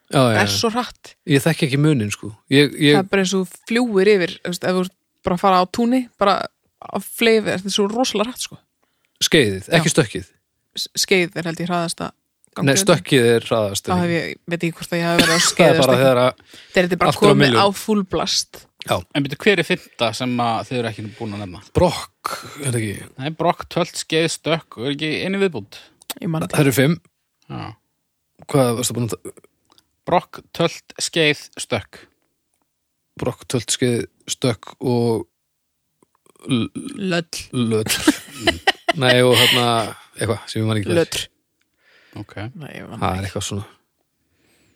B: Já,
C: það
B: já, já.
C: er svo hratt
B: Ég þekki ekki munin sko ég,
C: það
B: ég,
C: er bara eins og þú fljúir yfir þú veist, ef þú ert bara að fara á túnni bara á fleif, þetta er svo rosalega rætt sko.
B: Skeiðið, ekki stökkið
C: S- skeið er held ég hraðasta hérna.
B: Nei, stökkið er hraðast
C: þá hef ég, veit ekki hvort að ég hafi verið á
B: Það
C: skeið
B: er bara þegar að
C: þegar þetta er bara
B: aftur á
C: komið á
B: milljón.
C: full blast
A: En byrju, hver er fyrta sem að þið eru ekki búin að nefna?
B: brokk er það ekki,
A: Nei, brokk, tölt, skeið, stökk og er ekki einu viðbúnd.
C: ég man
B: Það
C: þetta
B: eru fimm
A: Já.
B: Hvað varstu búin að ta-
A: Brokk, tölt, skeið, stökk.
B: Brokk, tölt, skeið, stökk og
C: löll,
B: löll Nei, og hérna eitthvað sem ég man ekki
C: löll
A: Ok.
C: Nei, ég man-
B: Það er eitthvað svona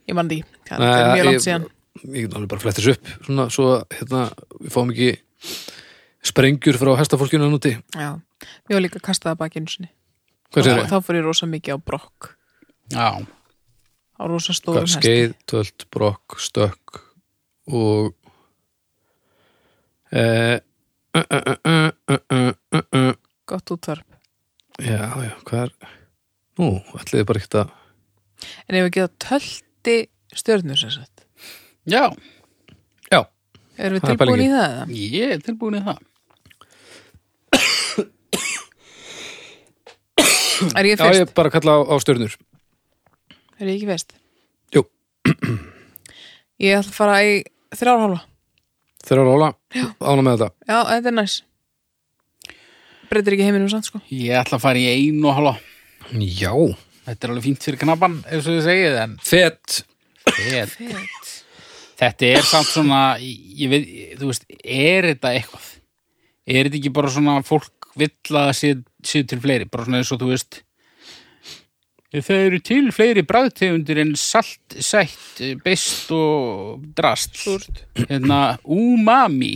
C: ég man því, það
B: Nei,
C: er mjög
B: ég-
C: langt síðan
B: Ég get alveg bara flettis upp svona, svo hérna, við fáum ekki sprengjur frá hestafólkinu hann úti
C: já, ég var líka kastaða baki einu sinni
B: Hvað
C: og
B: segir
C: þá fór ég rosa mikið á brokk
A: Já,
C: á rosa stórum
B: það?
C: hesti
B: Skeið, tölt, brokk, stökk og eh, uh, uh, uh, uh, uh, uh, uh.
C: gott útvarp
B: Já, já, hvað er Nú, ætliði bara ekkert að
C: en ef við geta tölti stjörnur sem sagt,
A: já,
B: Já,
C: erum við
B: Það er
C: tilbúin í
B: pælingin.
C: það eða?
A: ég er tilbúin í það
C: er ég
B: já
C: fyrst?
B: ég bara kalla á, á stjörnur
C: er ég ekki fyrst?
B: Jú.
C: ég ætla að fara í þrjárhálfa
B: Þeir eru óla, ána með þetta
C: já, þetta er næs breytir ekki heiminum samt sko
A: Ég ætla að fara í einu og halva
B: Já,
A: Þetta er alveg fínt fyrir knappan, eins og ég segið, en
B: fett
A: fet. þetta er samt svona, ég veit, þú veist, er þetta eitthvað? Er þetta ekki bara svona fólk vill að sé, sé til fleiri, bara svona eins og þú veist, þau eru til fleiri bræðtegundir en salt, sætt, beist og drast.
C: Súrt.
A: Hérna, umami,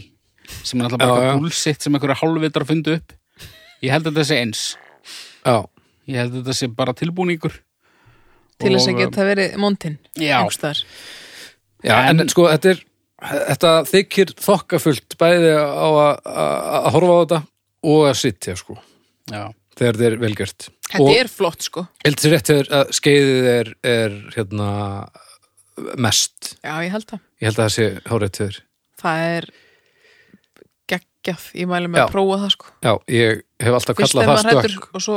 A: sem er alltaf bara
B: Já, já.
A: eitthvað búlsitt sem einhverja hálfvitar fundu upp. Ég held að þetta sé eins.
B: Já,
A: Ég held að þetta sé bara tilbúningur.
C: til þess
A: Og,
C: að geta verið montin
A: Já.
C: einhverstaðar
B: Já, en,
A: En-
B: sko, þetta er þetta þykir þokkafullt bæði á að- að að horfa á þetta og að sitja, sko,
A: Já.
B: þegar þetta er velgjört
C: Þetta
B: og
C: er flott sko
B: heldur sér rétt þegar að skeiðið er, er hérna mest,
C: Já, ég held það
B: ég held að það sé hárétt þegar
C: Það er geggjað, ég mæli með
B: Já.
C: að prófa það sko
B: Já, ég hef alltaf
C: Fyrst
B: kallað
C: þegar
B: það
C: maður
B: stökk
C: hættur og svo,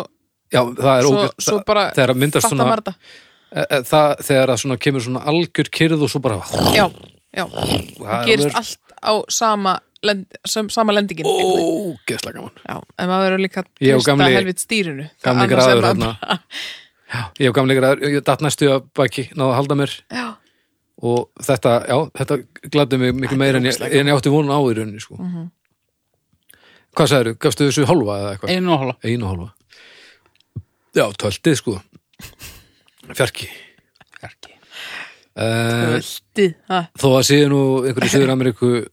B: Já, það er
C: svo,
B: ógæst
C: svo bara
B: þegar að myndast
C: fattar
B: svona- e,
C: maður þetta.
B: það, þegar að svona kemur svona algjör kyrð og svo bara
C: Já, já Það gerist allt á sama, lend, sem, sama lendingin einhvern veginn.
B: ógæslega gaman
C: Já, en maður verður líka að
B: Ég og
C: treysta
B: gamli-
C: helvit stýrinu Það
B: gamli
C: annars er
B: graður hérna.
C: maður
B: þarna.
C: bara-
B: Ég hef gamlega ræður, ég datt næstu að baki náðu að halda mér
C: Já,
B: og þetta, já, þetta gladdi mig miklu meira en ég,
C: ógeðslega
B: en ég átti vonu á í rauninni sko.
C: Mhm.
B: hvað sagðirðu, gafstu þessu hálfa eða eitthvað?
A: Einu og halva.
B: einu hálfa já, töltið sko fjarki
A: Ekki.
B: uh,
C: völdi Það
B: þó að séu nú einhverju Suður Ameríku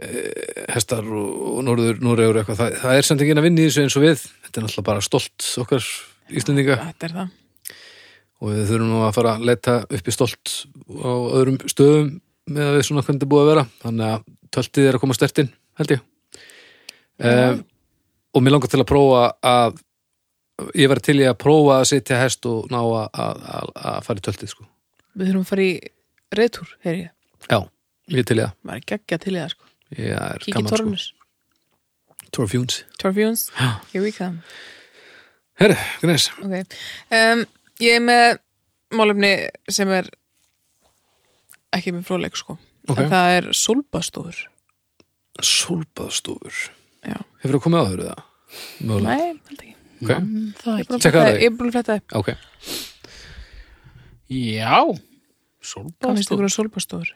B: eh, hestar og, og norður, norður eitthvað, það, það er samt ekki að vinna í þessu eins og við þetta er náttúrulega bara stolt okkar Íslendinga
C: þetta er það
B: og við þurfum nú að fara að leita upp í stolt á öðrum stöðum með að við svona hvernig þetta búið að vera þannig að töltið er að koma stertinn held ég um, og mér langar til að prófa að ég verið til í að prófa að sitja hest og ná að, að, að, að fara í töltið sko.
C: Við þurfum að fara í reytúr, heyr ég
B: já, ég er til í það
C: Maður er geggjað til í það sko
B: ég er sko.
C: Kiki
B: gaman
C: Tornus,
B: sko Torfjúns
C: Torfjóns Here we come
B: herru, Gneiss
C: Ok, um, ég er með málumni sem er ekki með fróleik sko
B: Ok.
C: en það er solbastofur
B: Solbaðstofur
C: Já,
B: hefur þú komið áður það? Mögulega.
C: nei, held ekki
B: Okay.
A: Það
C: Ég er búin að fletta-
B: Tjekka það í.
C: Ég er búin að fletta upp,
B: ok,
A: Já,
C: hvað finnst
A: sólbaðstof
C: ykkur um solbastofur?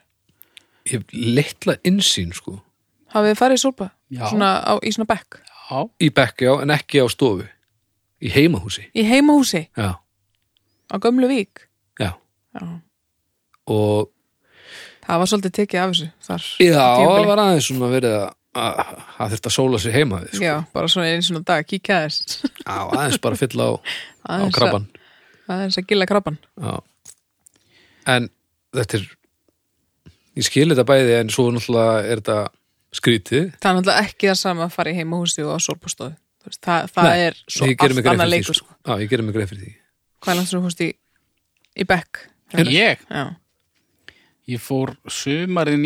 B: ég hef litla innsýn sko
C: Hafið þið farið í solba?
A: Já.
C: Svona á, í svona bekk?
A: Já,
B: í bekki á en ekki á stofu í heimahúsi
C: Í heimahúsi,
B: já,
C: á gömlu vík
B: já.
C: Já,
B: og
C: það var svolítið tekið af þessu þar
B: já, það
C: tímabili.
B: var aðeins svona verið að að að þurfti að sóla sér heima við, sko.
C: Já, bara svona einu svona dag, kíkja aðeins
B: já, aðeins bara að fylla á, á
C: Aðeins að-
B: krabban
C: aðeins að gilla krabban
B: já. en þetta er ég skil þetta bæði en svo náttúrulega er þetta skrítið
C: Það er náttúrulega ekki það sama að fara í heimahúsi og á solbastofu Þú veist, Það, það
B: Nei,
C: er svo
B: ég gerir
C: allt
B: mig grein
C: annað
B: fyrir því,
C: leikur sko.
B: sko. já, ég gerir mig greið fyrir því
C: hvað er langt sem þú fórst í, í bekk
A: ég,
C: já,
A: ég fór sumarið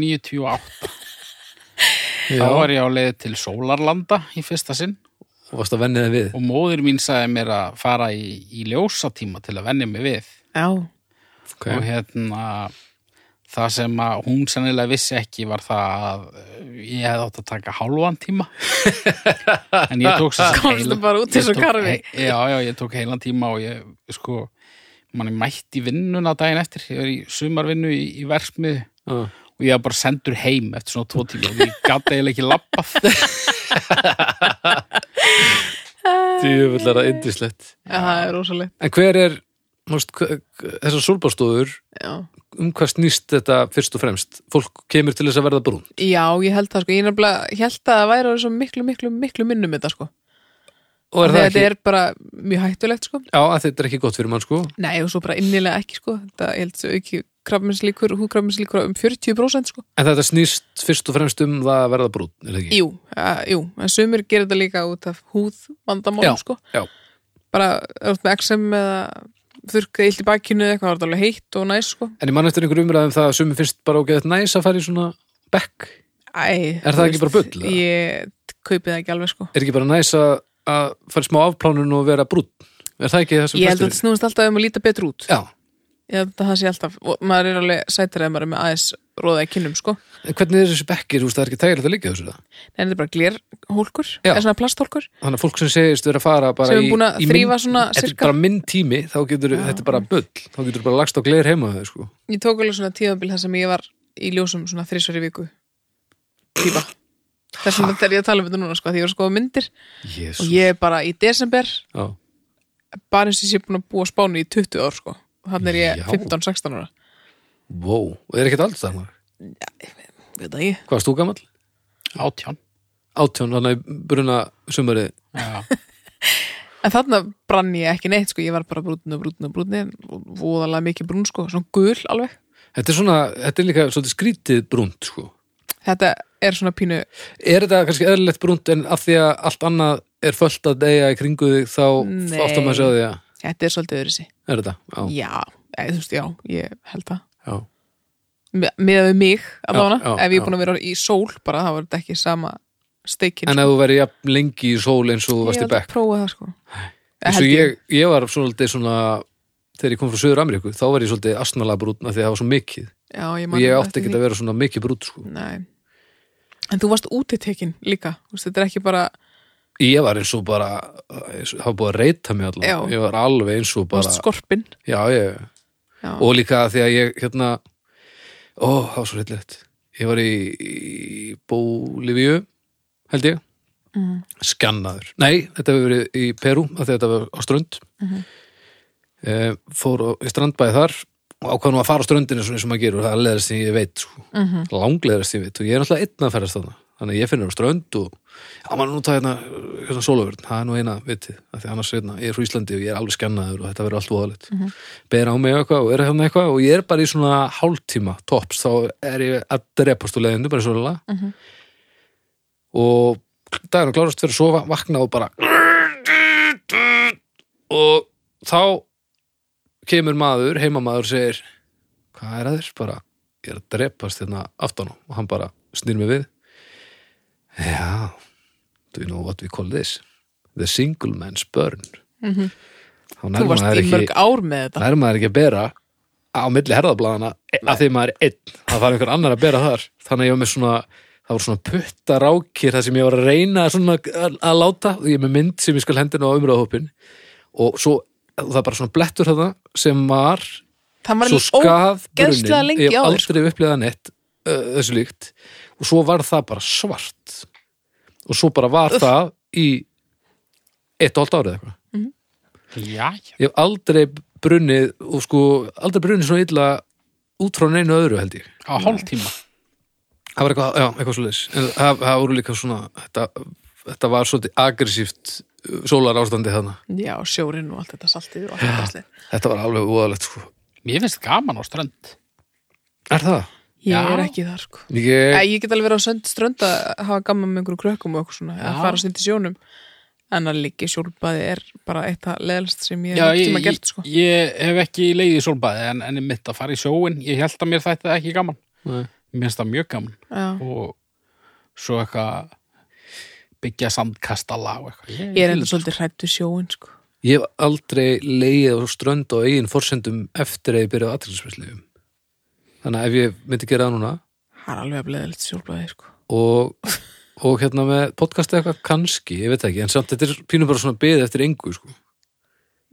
A: 1998
B: já,
A: þá var ég á leið til Sólarlanda í fyrsta sinn
B: og varst að vennið það við
A: og móðir mín sagði mér að fara í, í ljósatíma til að venni mig við
C: já,
A: og
B: okay.
A: hérna það sem að hún sennilega vissi ekki var það að eh, ég hefði átt að taka hálfan tíma en ég tók sem sagt
C: Komstu
A: heilan-
C: bara út í
A: ég
C: svo
A: tók
C: karfi.
A: hei- já, já, ég tók heilan tíma og ég, sko mann er mætt í vinnuna daginn eftir ég er í sumarvinnu í, í versmið
B: Já.
A: og ég var bara sendur heim eftir svona tvo tíma og ég gata eiginlega ekki labbað
B: djöfullara indislegt
C: það er rosalegt
B: en hver er veist, hva- þessar sólbástofur
C: já.
B: um hvað snýst þetta fyrst og fremst fólk kemur til þess að verða brún
C: já, ég held það sko, ég nefnilega held að það væri svo miklu, miklu, miklu minnum þetta sko
B: og er það
C: þegar
B: ekki,
C: þetta er bara mjög hættulegt sko
B: já, að þetta er ekki gott fyrir mann sko
C: nei og svo bara innilega ekki sko þetta ég held svo ekki krabminslíkur, húkrabminslíkur um 40% sko
B: en þetta snýst fyrst og fremst um það að verða brún er það ekki?
C: Jú, uh, jú, en sumir gerir þetta líka út af húðvandamálum,
B: Já,
C: sko.
B: já.
C: Bara, er þetta með XM eða þurrkaði illt í bakinu eða eitthvað, var þetta alveg heitt og næs, sko.
B: en ég mann eftir einhver umræðum um það að sumi finnst bara ógeðt næs að fara í svona bekk
C: Æ,
B: Er það
C: þú
B: ekki bara bull, eða?
C: Ég kaupið það ekki alveg, sko.
B: er ekki bara næs að, að fara í smá afplánun og vera brún er það ekki það sem
C: Ég held að
B: flestir-
C: þetta snúist alltaf um að líta betur út.
B: já,
C: Ég held að það sé alltaf, og maður er alveg sættir eða maður er með aðeins róða í kinnum, sko.
B: en hvernig er þessi bekkir, þú veist, það er ekki tægilegt að liggja þessu
C: En
B: það
C: þetta er bara glerhólkur,
B: Já.
C: eða svona plasthólkur,
B: þannig að fólk sem segist vera að fara bara
C: Sem er
B: í,
C: búin að
B: í
C: þrífa svona
B: þetta er
C: sirka.
B: bara minn tími, þá getur þetta er bara bull, þá getur bara lagst á gler heima þau, sko.
C: Ég tók alveg svona tíðanbíl þar sem ég var í ljósum svona þrísveri viku típa þess vegna þegar ég að tala um þetta núna sko, því ég var að skoða myndir
B: yes.
C: og ég er bara í desember
B: já,
C: bara eins og ég sé búin að búa á spánu í 20 ár sko. þannig er ég
B: Já.
C: 15-16 ára
B: wow, og það er ekkert alls þannig
C: Veit það ég?
B: hvað, stúgamall?
A: átján
B: átjón, þannig að bruna sumari
A: Já.
C: En þarna brann ég ekki neitt sko, ég var bara brútin og brútin og brútin og voðalega mikið brún sko, svona gul alveg
B: þetta er svona, þetta er líka svolítið skrítið brúnt sko.
C: Þetta er svona pínu
B: er þetta kannski eðlilegt brúnt en af því að allt annað er fullt að deyja í kringu þig þá
C: Nei.
B: áttum að sjá því að
C: Þetta er svolítið öðrisi
B: er þetta, já,
C: Já, eða, þú veist, já, ég held það
B: já.
C: með við mig allavega,
B: Já, já,
C: ef ég
B: já.
C: er búin að vera í sól bara það var þetta ekki sama steikin sko.
B: en ef þú verið jafn lengi í sól eins og þú varst í bekk
C: að prófa það sko
B: eins
C: Held
B: og ég, ég var svolítið svona þegar ég kom frá Suður Ameríku þá var ég svolítið asnalega brúnt af því að það var svo mikið
C: já, ég,
B: og ég átti ekki að vera svona mikið brúnt sko.
C: Nei. en þú varst útitekin líka þú veist, þetta er ekki bara,
B: ég var eins og bara eins og- það var búið að reyta mig allan
C: Já. sko-
B: ég var alveg eins og
C: bara
B: bara
C: skorpin
B: já, ég,
C: Já.
B: og líka því að ég hérna ó, það var svo reyðilegt ég var í, í Bólivíu held ég
C: Mhm.
B: skannaður, nei, þetta hefur verið í Perú af því að þetta var á strönd eh, fór á, í strandbæði þar og ákvað nú að fara á ströndinu svona eins og maður gerur, það er leðast sem ég veit sko. mm -hmm. langleðast sem ég veit og ég er alltaf einn að ferast þarna þannig að ég finnur á strönd og já, maður er nú það hérna, hérna sólaverð það er nú eina vitið, af því annars hérna, ég er frá Íslandi og ég er alveg skannaður og þetta verður allt voðalegt mm á mig eitthvað og er hérna eitthvað og ég er bara í svona hálftíma tops, þá er ég að drepast úr leðinu, bara svolítið mm
C: Mhm.
B: -hmm. og daginn og klárast fyrir að sofa, vakna og bara og þá kemur maður, heimamaður segir hvað er að þér? Bara, ég er að drepast hérna aftan á og hann bara snýr mig við Já do you know what we call this? The single man's burn Þá
C: Mhm. þú
B: nær
C: varst
B: maður
C: í
B: ekki
C: mörg ár með þetta
B: nær maður ekki að bera á milli herðablaðana að því maður er einn það var einhver annar að bera þar þannig að ég var með svona það voru svona puttarákir það sem ég var að reyna svona að, að láta og ég er með mynd sem ég skal hendina á umröðahópin og svo það er bara svona blettur þetta sem var
C: það var
B: svo skað
C: ógeðslega
B: brunnin
C: lengi sko?
B: ég hef
C: á þér,
B: aldrei upplegað neitt uh, þessu líkt og svo var það bara svart og svo bara var það í eitt og allt árið eitthvað
A: Já, já.
B: Ég hef aldrei brunnið og sko aldrei brunnið svona illa út frá neinu öðru held ég.
A: á hálftíma
B: Það var eitthvað, já, eitthvað svo leis. En það, það voru líka svona, þetta, þetta var svolítið aggressíft uh, sólar ástandi þarna.
C: já, sjórin og allt þetta saltið og allt þetta slið
B: Þetta var alveg úðalegt sko.
A: Mér finnst gaman á strönd
B: Er það?
C: ég er
A: Já.
C: ekki þar sko
B: Ég,
C: Æ, ég get alveg verið á sönd strönd að hafa gaman með einhverjum krökkum og eitthvað svona að
A: Já.
C: fara stund í sjónum en að líka í sjólbaði er bara eitt að leðalst sem ég
A: Já,
C: hef
A: ég,
C: tíma
A: ég,
C: gert sko.
A: ég hef ekki leiðið í sólbaði en, en mitt að fara í sjóin, ég held að mér þetta ekki gaman
B: Nei.
A: Mér finnst það mjög gaman
C: Já.
A: og svo eitthvað byggja sandkastala og eitthvað Ég-
C: Ég er
A: ég
C: enda svolítið hrættu sjóin sko.
B: ég hef aldrei leið á strönd á eigin forsendum eftir að ég byrjaði aðtryggsmesslegum. Þannig að ef ég myndi gera það núna
C: Það er alveg að bleða litt sjólblæði sko.
B: og, og hérna með podcastið eitthvað kannski, ég veit það ekki, en samt þetta er pínum bara svona beðið eftir engu sko.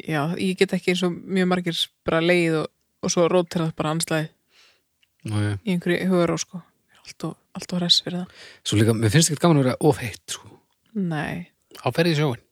C: Já, ég get ekki eins og mjög margir bara leið og, og svo rót til það bara anslæði
B: Nú, ég.
C: í einhverju hugaró sko. Ég er Allt og, allt og hress fyrir það
B: Svo líka, mér finnst ekki gaman að vera of heitt sko.
C: Nei,
A: Á ferð í sjóin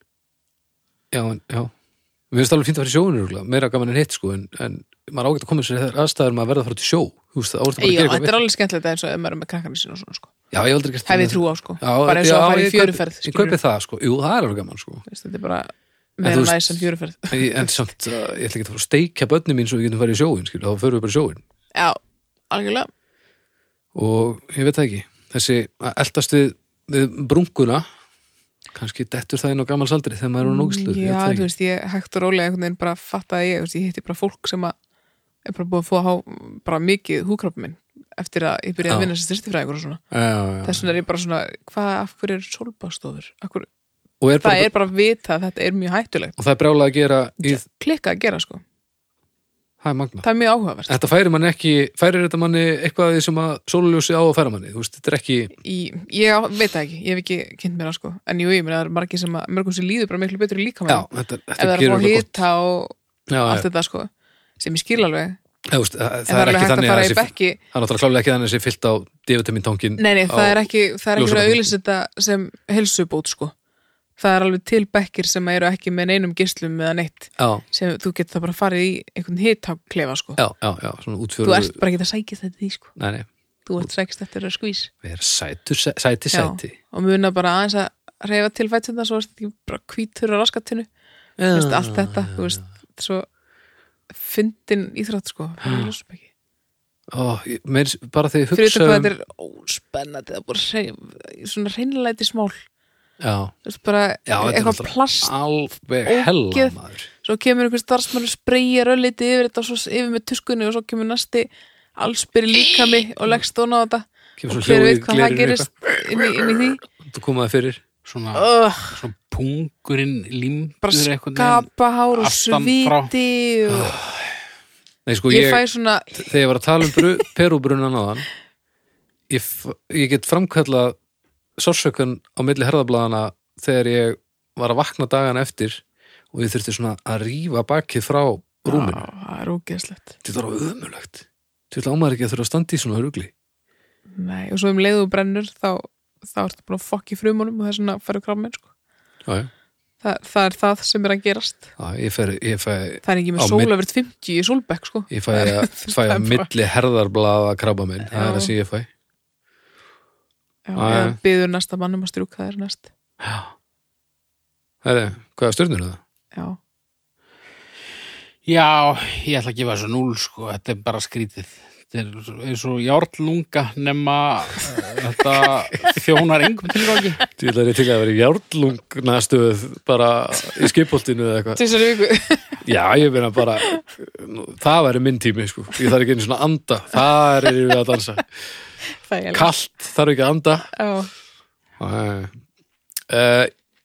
B: Já, en, já Mér Mér finnst alveg fínt að fara í sjóinu rúglega, meira gaman en hitt sko, en, en maður ágætt að koma sér í þær aðstæður maður verða að fara til sjó, þú veist, það orðið bara
C: Já,
B: að gera
C: þetta
B: eitthvað
C: er alveg skemmtilegt eins og ef maður er með krakkarnir sín og svona sko.
B: við- Já, ég hef aldrei gert
C: Hefði trú á sko Bara eins og að fara í fjöruferð
B: Ég
C: skilurðu.
B: kaupi það sko, jú, það er alveg gaman sko
C: Veist, Þetta er bara
B: þú
C: meira
B: veist-
C: næs en fjöruferð
B: En, ég- en samt, uh, ég ætla ekki að fara að steikja börnum mín svo við getum farið í sjóin, skil, þá förum við bara í sjóin
C: Já, algjörlega
B: og ég veit það ekki, þessi að eldast við, við brunguna kannski dettur það inn á gamals aldri þegar maður er á nógisluð,
C: Mm, Já, þú veist, ég hægt og rólega einhvern veginn bara fatta að ég, þú veist, ég hitti bara fólk sem að er bara búið að fá að há bara mikið húkrapp minn eftir að ég byrjaði
B: Já.
C: að vinna sem styrtifræðingur og svona
B: Já, já.
C: þess vegna er ég bara svona, hvað, af hverju er sólbástofur? Hver,
B: Og, er
C: það
B: bara,
C: er bara að vita að þetta er mjög hættulegt
B: og það er brjálega að gera í,
C: klikka að gera sko,
B: það er magna
C: það er mjög áhugavert
B: þetta færir manni ekki, færir þetta manni eitthvað af því sem að sóluljósi á að færa manni þú veist, þetta er ekki,
C: í, ég á- veit það ekki, ég hef ekki kynnt mér það sko, en jú, ég meina það er margir sem að mörgum sem líður bara miklu betur í
B: já,
C: líkamann
B: þetta,
C: ef það
B: þetta
C: er að
B: gerur
C: fá
B: þetta gott
C: hita og
B: já, já,
C: allt þetta sko sem ég skil alveg,
B: já, veist, það,
C: en
B: það er
C: alveg
B: ekki
C: hægt að
B: þannig að
C: fara í
B: þessi,
C: bekki
B: það er náttúrulega klálega ekki þannig að þessi fyllt á divitamintankin
C: nei, nei, það er ekki það er ekki verið að
B: ljósapakkann.
C: auðlýsa þetta sem helsubót sko, það er alveg til bekkir sem eru ekki með neinum gislum eða neitt
B: já,
C: sem þú getur það bara farið í einhvern hitaklefa sko,
B: já, já, já, svona útfjörðu
C: þú ert bara ekki að sækja þetta í sko,
B: nei, nei,
C: þú ert sækist eftir að skvís
B: við erum sætur, sæ- sæti, sæti
C: og muna bara aðeins að reyfa til fætuna svo er þetta ekki bara hvítur á raskatunni
B: já,
C: Þú veist, allt þetta, þú veist, svo fyndin íþrótt, sko, hann er ljósum ekki.
B: Ó, ég- meir, bara þegar ég
C: Fyrir
B: Ah, hugsa
C: þetta hvað
B: um-
C: þetta er óspennandi, það er bara hrein- svona reynlæti smál,
B: já,
C: þú veist, bara
B: já, þetta er
C: eitthvað
B: náttúrulega
C: plast,
B: alveg
C: ógeð.
B: hella maður
C: svo kemur einhver starfsmann og spreyjar ölliti yfir þetta og svo yfir með tuskunni og svo kemur næsti allsbyrði líkami og leggst ofan á þetta
B: kemur
C: og
B: svona
C: hver
B: hljóð í
C: veit hvað það
B: glerinu
C: gerist inn í, inn í því.
B: eitthvað, þú komaði fyrir
A: svona,
C: Oh,
A: svona pungurinn límdur
C: bara
A: einhvern veginn.
C: skapahár og
A: aftan frá.
C: sviti og
B: nei, sko,
C: ég fæ svona,
B: þegar ég var að tala um bru, perubrunan aðan ég, f- ég get framkalla sársökun á milli herðablaðana þegar ég var að vakna dagana eftir og ég þurfti svona að rífa bakið frá rúminu
C: Á, það er ógeðslegt.
B: þetta var ömulegt þetta ámaður ekki að þurfa að standa í svona rugli
C: Nei, og svo um leiðu brennur þá, þá ertu búin að fokk í frumunum og það er svona að fara krammin sko.
B: já, já.
C: Þa, það er það sem er að gerast
B: Já, ég fæ, ég fæ,
C: það er ekki
B: Á,
C: með
B: minn-
C: sól öfrið 50 í sólbekk sko.
B: ég fæ, að, fæ
C: Það er
B: að
C: bara-
B: milli herðarblaða krabba minn það er
C: Já.
B: það sem ég fæ
C: Já,
B: Já,
C: eða
B: já.
C: byður næsta mannum að strjúka það er næst
B: Herri, hvað er stjörnur það?
C: Já,
A: Já, ég ætla að gefa þessu núl sko, þetta er bara skrítið. Þetta er svo- eins og járnlunga nema uh, þetta þjónar engum tilgangi.
B: Ég ætlaði til að vera í járnlungna stöð bara í skipoltinu eða eitthvað
C: þessari viku
B: Já, ég meina bara nú, það væri minn tími, sko ég þarf ekki einu svona að anda, þar erum við að dansa
C: Þægilegt.
B: kallt, þarf ekki að anda
C: Já,
B: uh,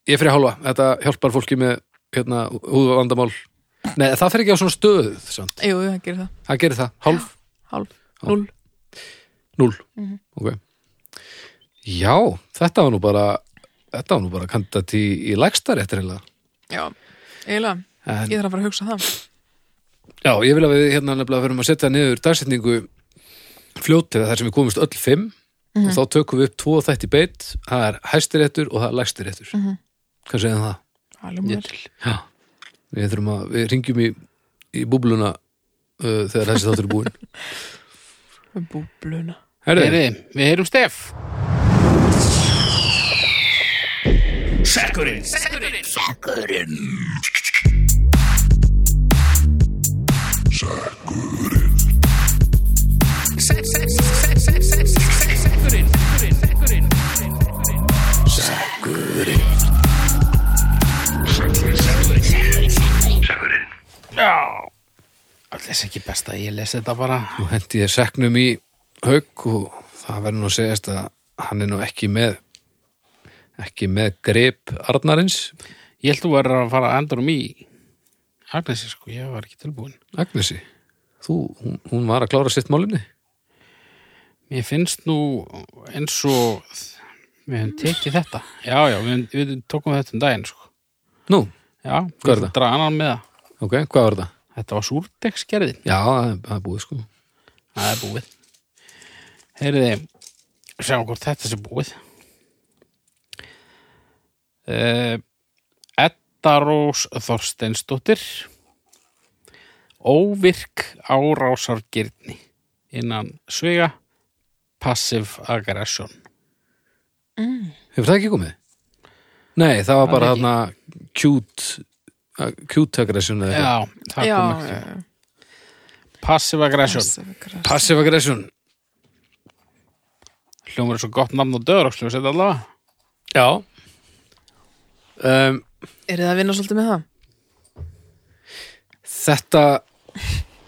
B: Ég fyrir hálfa, þetta hjálpar fólki með hérna, húðvandamál Nei, það fer ekki á svona stöð samt.
C: Jú, það gerir það
B: það gerir það, hálf,
C: Hálf,
B: Já.
C: núl
B: núl Ok Já, þetta var nú bara þetta var nú bara kandidat í, í lægstar eftir heila
C: Já, eiginlega,
B: En,
C: ég þarf að fara að hugsa það
B: Já, ég vil að við hérna nefnilega fyrir að setja niður dagsetningu fljótið þar sem við komumst öll fimm og þá tökum við upp tvo þætti beitt það er hæstiréttur og það er lægstiréttur mm -hmm. Hvað segir það?
C: Alveg mér
B: Já Við þurfum að, við ringjum í, í búbluna uh, þegar þessi þáttur er búin
C: með Um búbluna
B: Herri,
A: Heyriði, við heyrum Stef. Allt þess ekki best að ég lesi þetta bara.
B: nú hendi ég seknum í hauk og það verður nú að segjast að hann er nú ekki með ekki með grip Arnarins
A: Ég held þú verður að fara að endur um í Agnesi sko, ég var ekki tilbúin.
B: Agnesi Þú, hún, hún var að klára sitt málinni
A: Mér finnst nú eins og við höfum tekið þetta. Já, já, við, við tókum þetta um daginn sko.
B: Nú,
A: Já,
B: Hvað er
A: við
B: það?
A: draga annan með það.
B: ok, hvað var það?
A: Þetta var súrdegsgerðin.
B: Já, það er- það er búið sko
A: Það er búið. Heyriði, sjáum hvort Eh, þetta sé búið. Uh, Aldarós Þorsteinsdóttir Óvirk árásargirni innan svega Passive Aggression
B: Hefur það ekki komið? Nei, það var bara
A: Það er
B: þarna cute, uh, cute aggression eða eitthvað.
A: Já, það
C: já,
A: kom ekki
C: já,
A: Passive Aggression
C: já.
B: Passive aggression
A: Hljómar er svo gott namn og döður og sljóðu setja allavega
B: Já um,
C: Er það að vinna svolítið með það?
B: Þetta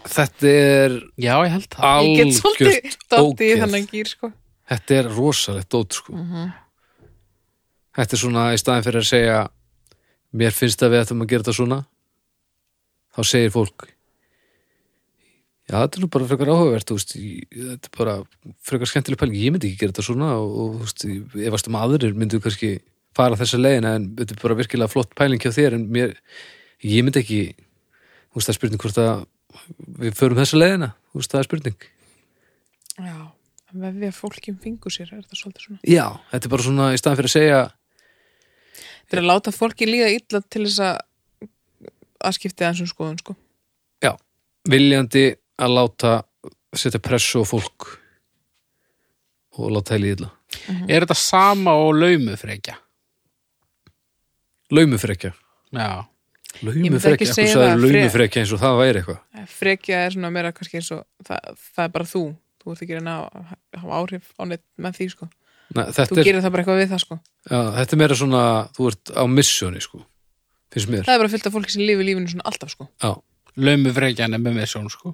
B: Þetta er
A: Já, ég held það
C: Ég get svolítið
B: algjört
C: dótt í
B: ógeð.
C: þennan gýr sko
B: Þetta er rosalegt dót sko. Þetta er svona í staðin fyrir að segja mér finnst að við ættum að gera þetta svona þá segir fólk já þetta er nú bara frekar áhugavert þú veist, ég- þetta er bara frekar skemmtileg pæling, ég myndi ekki gera þetta svona og, og þú veist, ég varst um aðrir myndu kannski fara þessa leiðina en þetta er bara virkilega flott pæling hjá þér en mér, ég myndi ekki þú veist það er spurning hvort að við förum þessa leiðina, þú veist það er spurning
C: Já, ef við fólkjum um fingur sér er það svolítið svona
B: Já, þetta er bara svona í staðan fyrir að segja
C: Þetta er að láta fólki líða illa til þess að að skipta aðeins um skoðun sko
B: Já, viljandi að láta setja pressu á fólk og láta það líðla
A: Er þetta sama og laumufrekja?
B: Laumufrekja
A: Já,
C: myndi ekki
B: Laumufrekja,
C: segja
B: eitthvað sagði
C: það, fre-
B: laumufrekja eins og það væri eitthvað
C: Eh, Frekja er svona meira kannski eins og það, það er bara þú Þú ert ekki að reyna að hafa áhrif á neitt með því sko
B: Nei, þetta,
C: Þú
B: er,
C: gerir það bara eitthvað við það sko
B: já, þetta er meira svona þú ert á missjóni sko finnst mér,
C: Það er bara fyllt af fólki sem lifi lífinu svona alltaf sko
B: já
A: laumufrekjan er með mér sjón sko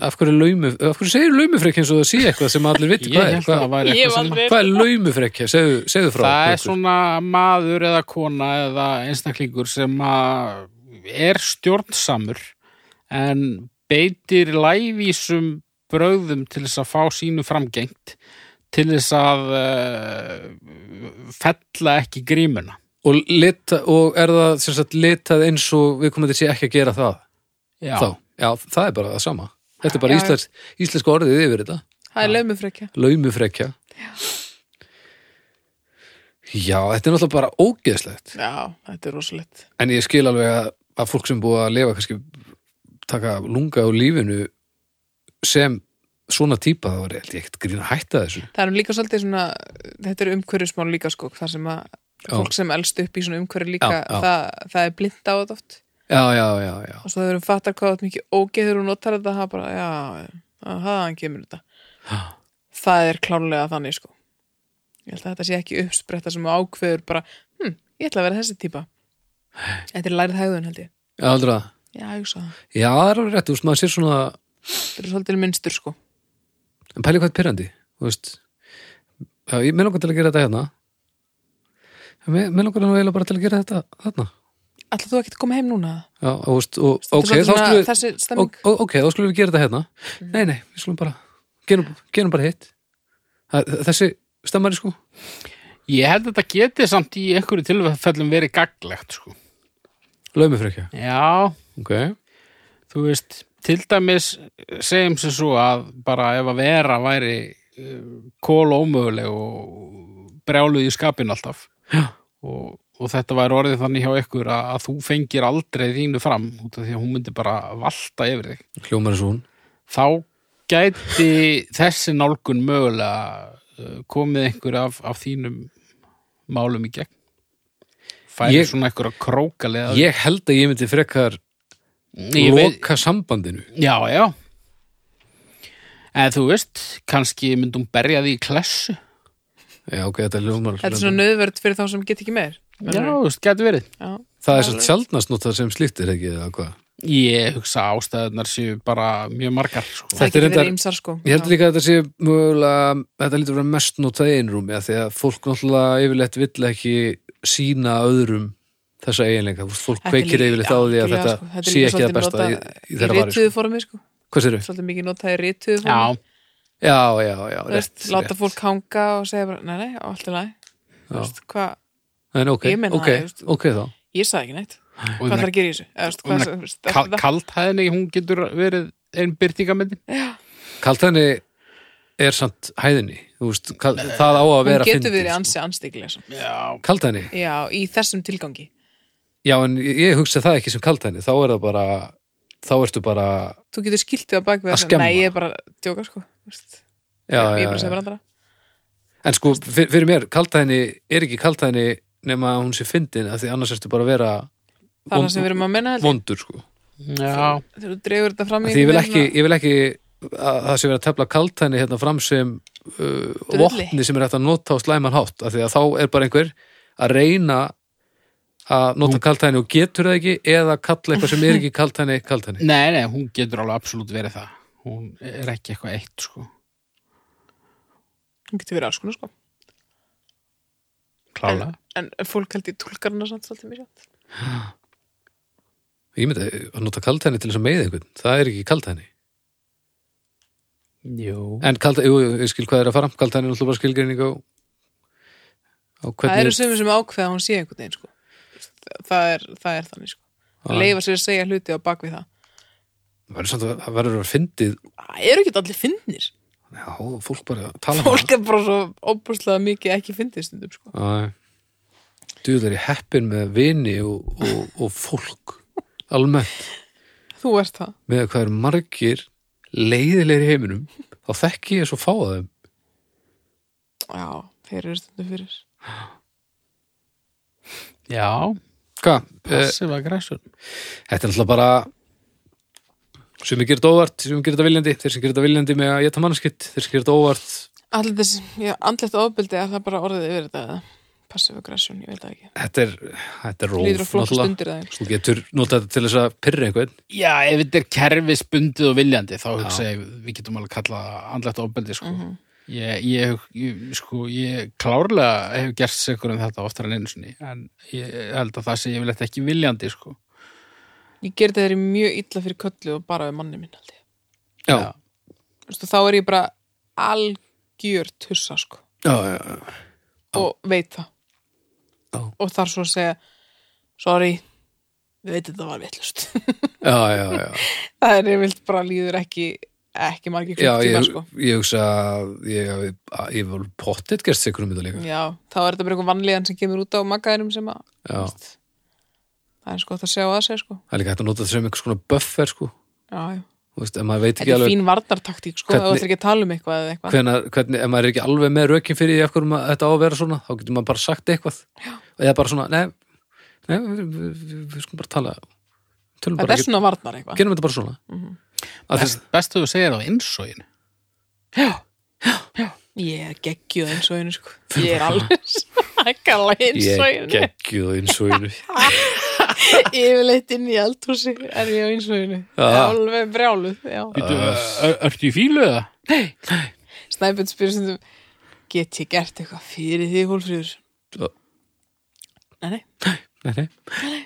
B: Af hverju, er laumu, af hverju segir laumufrekja eins og það sé eitthvað sem allir
A: Ég
B: viti hvað
A: held
B: er
A: að það
B: hvað,
A: væri eitthvað sem
B: hvað er laumufrekja, segðu, segðu frá
A: það er
B: Bergur.
A: svona maður eða kona eða einstaklingur sem að er stjórnsamur en beitir lævísum bröðum til þess að fá sínu framgengt til þess að uh, fella ekki grímuna
B: og, lita, og er það sem sagt litað eins og við komum til sé ekki að gera það
A: Já,
B: þá, já, það er bara það sama þetta er bara
C: Já, já.
B: íslensk, íslenska orðið yfir þetta
C: Það er lögmufrekja
B: laumufrekja já, þetta er náttúrulega bara ógeðslegt
C: Já, þetta er rosalegt
B: en ég skil alveg að, að fólk sem búið að lifa kannski taka lunga á lífinu sem svona típa þá er held ég ekkert grín að hætta þessu
C: Það er líka svolítið svona, þetta er umhverjusmál líka sko, þar sem að fólk sem elst upp í svona umhverju líka,
B: Já, já.
C: Það, það er blind á þetta oft
B: já, já, já, já,
C: og svo þegar hún fattar hvað þetta mikið ógeður og notar þetta, það er bara, já, að hann kemur þetta. Það er klárlega þannig sko. Ég held að þetta sé ekki uppspretta sem ákveður bara, hm, ég ætla að vera þessi típa. Þetta er lærið hegðun held ég.
B: já, aldrei að
C: Já, ég hugsa það.
B: já, það er alveg rétt, þú veist, maður sér svona
C: Þetta er svolítið minnstur sko.
B: en pæli hvað er pyrrandi þú veist já, ég með langar til að gera þetta hérna En mig- mig langar nú eiginlega bara til að gera þetta þarna
C: Ætla þú ekki að koma heim núna?
B: já, og, þú veist, og,
C: Þetta er svolítið svona
B: ok, þá skulum við
C: Þessi
B: og,
C: stemming. Mhm.
B: og- ok, þá skulum við gera þetta hérna nei, nei, við skulum bara gerum, gerum bara hitt Það- þessi stemmari sko
A: ég held að þetta geti samt í einhverju tilfellum verið gaglegt sko.
B: laumufrekja
A: Já,
B: ok,
A: þú veist, til dæmis segjum sem svo að bara ef að vera væri kóla ómöguleg og brjáluð í skapin alltaf
B: Já.
A: og, og þetta væri orðið þannig hjá ykkur að, að þú fengir aldrei þínu fram út af því að hún myndi bara valta yfir þig
B: hljómar eins og hún
A: þá gæti þessi nálgun mögulega eh, komið einhver af, af þínum málum í gegn færi
B: Ég-
A: svona einhverja krókalega
B: ég held að ég myndi frekar
A: Ég veit-
B: loka sambandinu
A: Já, já. En þú veist, kannski myndum berja því í klessu.
B: já, ok, þetta er hljómar
C: Þetta er svona nöðvörð fyrir þá sem get ekki meir.
A: Já, þú veist, gæti verið.
C: Já.
B: það er satt sjaldnast notað sem slíkt er ekki eða hvað
A: Ég hugsa að ástæðunar séu bara mjög margar. Sko.
B: Þetta
C: Það getur
B: er
C: verið
B: reyndar-
C: ýmsar sko
B: Ég held líka að þetta sé mögulega, þetta lítur að vera mest notað í einrúmi að því að fólk náttúrulega yfirleitt vill ekki sína öðrum þessa eiginleika, Þú veist, fólk
C: Þetta er
B: kveikir
C: líka-
B: yfirleitt á því að
C: algjörlega,
B: þetta
C: sko. Þetta er
B: sé
C: líka
B: ekki það
C: svolítið
B: besta í,
C: notað
B: í
C: Í
B: þeirra varir.
C: rituðu formi sko
B: Hvað sérðu?
C: Svolítið mikið notað í rituðu formi
A: Já,
B: Já, já, já,
C: Þú
B: rétt.
C: veist, Láta
B: rétt.
C: fólk hanga og segja bara Nei, nei, allt er læg Þú
B: Já.
C: veist, hvað-
B: En ok,
C: Ég meina
B: ok,
C: það, þú veist.
B: ok þá.
C: Ég sagði ekki neitt
A: og
C: Hvað
A: ég
C: þarf
A: meina,
C: að gera í þessu? Eða, þú veist,
A: og ég
C: hvað-
A: meina,
C: þú veist,
A: kal
C: þetta-
A: kaldhæðinni, hún getur verið einn byrtingamöndin.
B: Kalt henni er samt hæðinni, þú veist, kal, það á að
C: Hún
B: vera
C: getur
B: fyndið,
C: verið
B: sko.
C: ansi anstíkilega
A: Já,
B: Kalt henni,
C: Já, í þessum tilgangi
B: já, en ég, ég hugsa það ekki sem kaltæni þá er það bara, þá ertu bara
C: þú getur skiltið á bakvið
B: Að
C: þessa-
B: skemma.
C: nei, ég er bara að djóka sko Vist,
B: já,
C: ég
B: já,
C: er bara að segja
B: já.
C: bara andra
B: en sko, fyrir, fyrir mér, kaltæni er ekki kaltæni nema að hún sé fyndin af því annars ertu bara að vera
C: það er
B: vond-
C: það sem við erum að menna held ég.
B: vondur, sko
A: Já,
C: þegar þú dregur þetta fram
B: Af
C: í
B: því ég vil
C: einhvern
B: ekki,
C: veginn
B: ég vil ekki að það sé verið að tefla kaltæni hérna fram sem uh, vopni sem er hægt að nota á slæman hátt af því að þá er bara einhver að reyna að nota kaltæni og getur það ekki eða kalla eitthvað sem er ekki kaltæni kaltæni
A: nei, nei, hún getur alveg absolutt verið það Hún er ekki eitthvað eitt, sko
C: svona- hún getur verið alls konar sko
A: Klálega
C: en fólk held ég tólkar hana samt svolítið mjög sjátt
B: ég myndi að nota kaltæni til þess að meiða einhvern það er ekki kaltæni
A: Jú
B: en kaltæni, jú, jú, ég skil hvað er að fara kaltæni er alltaf bara skilgreining á, á
C: það eru
B: hvernig
C: sömu sem ákveða að hún sé einhvern veginn sko Þa- það er, það er þannig sko
B: Já.
C: leifa sér að segja hluti á bakvið það
B: Það verður samt að- það verður að fyndið
C: það eru ekki allir finnir
B: já, fólk bara tala um
C: fólk er bara svo óbúrslega mikið ekki fyndið stundum sko
B: Duð er ég heppin með vini og, og, og fólk almennt
C: þú ert það
B: með hvað eru margir leiðilegir í heiminum þá þekki ég svo fá að þeim
C: já, þeir eru stundum fyrir
A: Já,
B: Hvað? Eh,
A: passiv aggressor
B: þetta er alltaf bara sem ég gerir þetta óvart, sem ég gerir þetta viljandi þeir sem gerir þetta viljandi með að geta mannskitt þeir sem gerir þetta óvart
C: allir þess, já, andlegt ofbeldi er það bara orðið yfir þetta eða passive aggression, ég veit það ekki
B: þetta er, þetta er róf
C: lítur að flókast
B: náttúrulega.
C: undir það einhvers.
B: þú getur notað þetta til þess að pyrra einhvern
A: Já, ef þetta er kerfisbundið og viljandi þá hugsa ég, við getum alveg kallað það andlegt ofbeldi, sko
C: Mhm.
A: ég, ég, ég, sko, ég klárlega hef gert segur um þetta oftar en einu sinni en ég held að það sé ég vil þetta ekki viljandi, sko
C: ég gerði þeirri mjög illa fyrir köllu og bara við manni minn aldrei.
B: já,
A: Já.
C: Vistu, þá er ég bara algjör tussa sko
B: já, já, já.
C: og veit það
B: Já.
C: og þar svo að segja sorry, við veitum þetta var vitlust
B: já, já, já.
C: það er yfirvilt bara líður ekki ekki margir
B: já
C: klukk tíma
B: ég,
C: sko
B: ég hugsa að ég, ég, ég var pottitt gerst sikur um þetta líka
C: já, þá er þetta bara einhver vannlegan sem kemur út á maggaðinum sem að
B: Já.
C: veist, það er sko að sjá að segja sko
B: Það er líka hægt að nota þetta sem einhvers konar buffer sko.
C: já, já.
B: Þú veist, ef maður veit ekki
C: þetta er
B: alveg
C: fín varnartaktík sko, það
B: Hvernig-
C: ætlar ekki að tala um eitthvað eða eitthvað
B: hvenar, hvernig, ef maður er ekki alveg með rökin fyrir því af hverju maður, þetta á að vera svona, þá getur maður bara sagt eitthvað Já. og eða bara svona, nei, nei við, við, við, við skulum bara tala tölum
C: þetta
B: bara
C: er
B: ekki,
C: svona Mhm. varnar eitthvað
B: gerum þetta bara svona mm þess,
A: Best, Bestu þú segir það á innsógin
C: ég er geggjuð eins og einu sko ég er alveg sakalega eins og
B: ég
C: einu
B: geggju það eins og einu
C: yfirleitt inn í eldhúsi er ég á eins og einu
B: Já.
C: alveg brjáluð já
A: Ertu í fílu eða?
C: Snæbjörn spyrir stundum get ég gert eitthvað fyrir því Hólfríður?
B: Já.
C: Nei, nei,
B: nei, nei,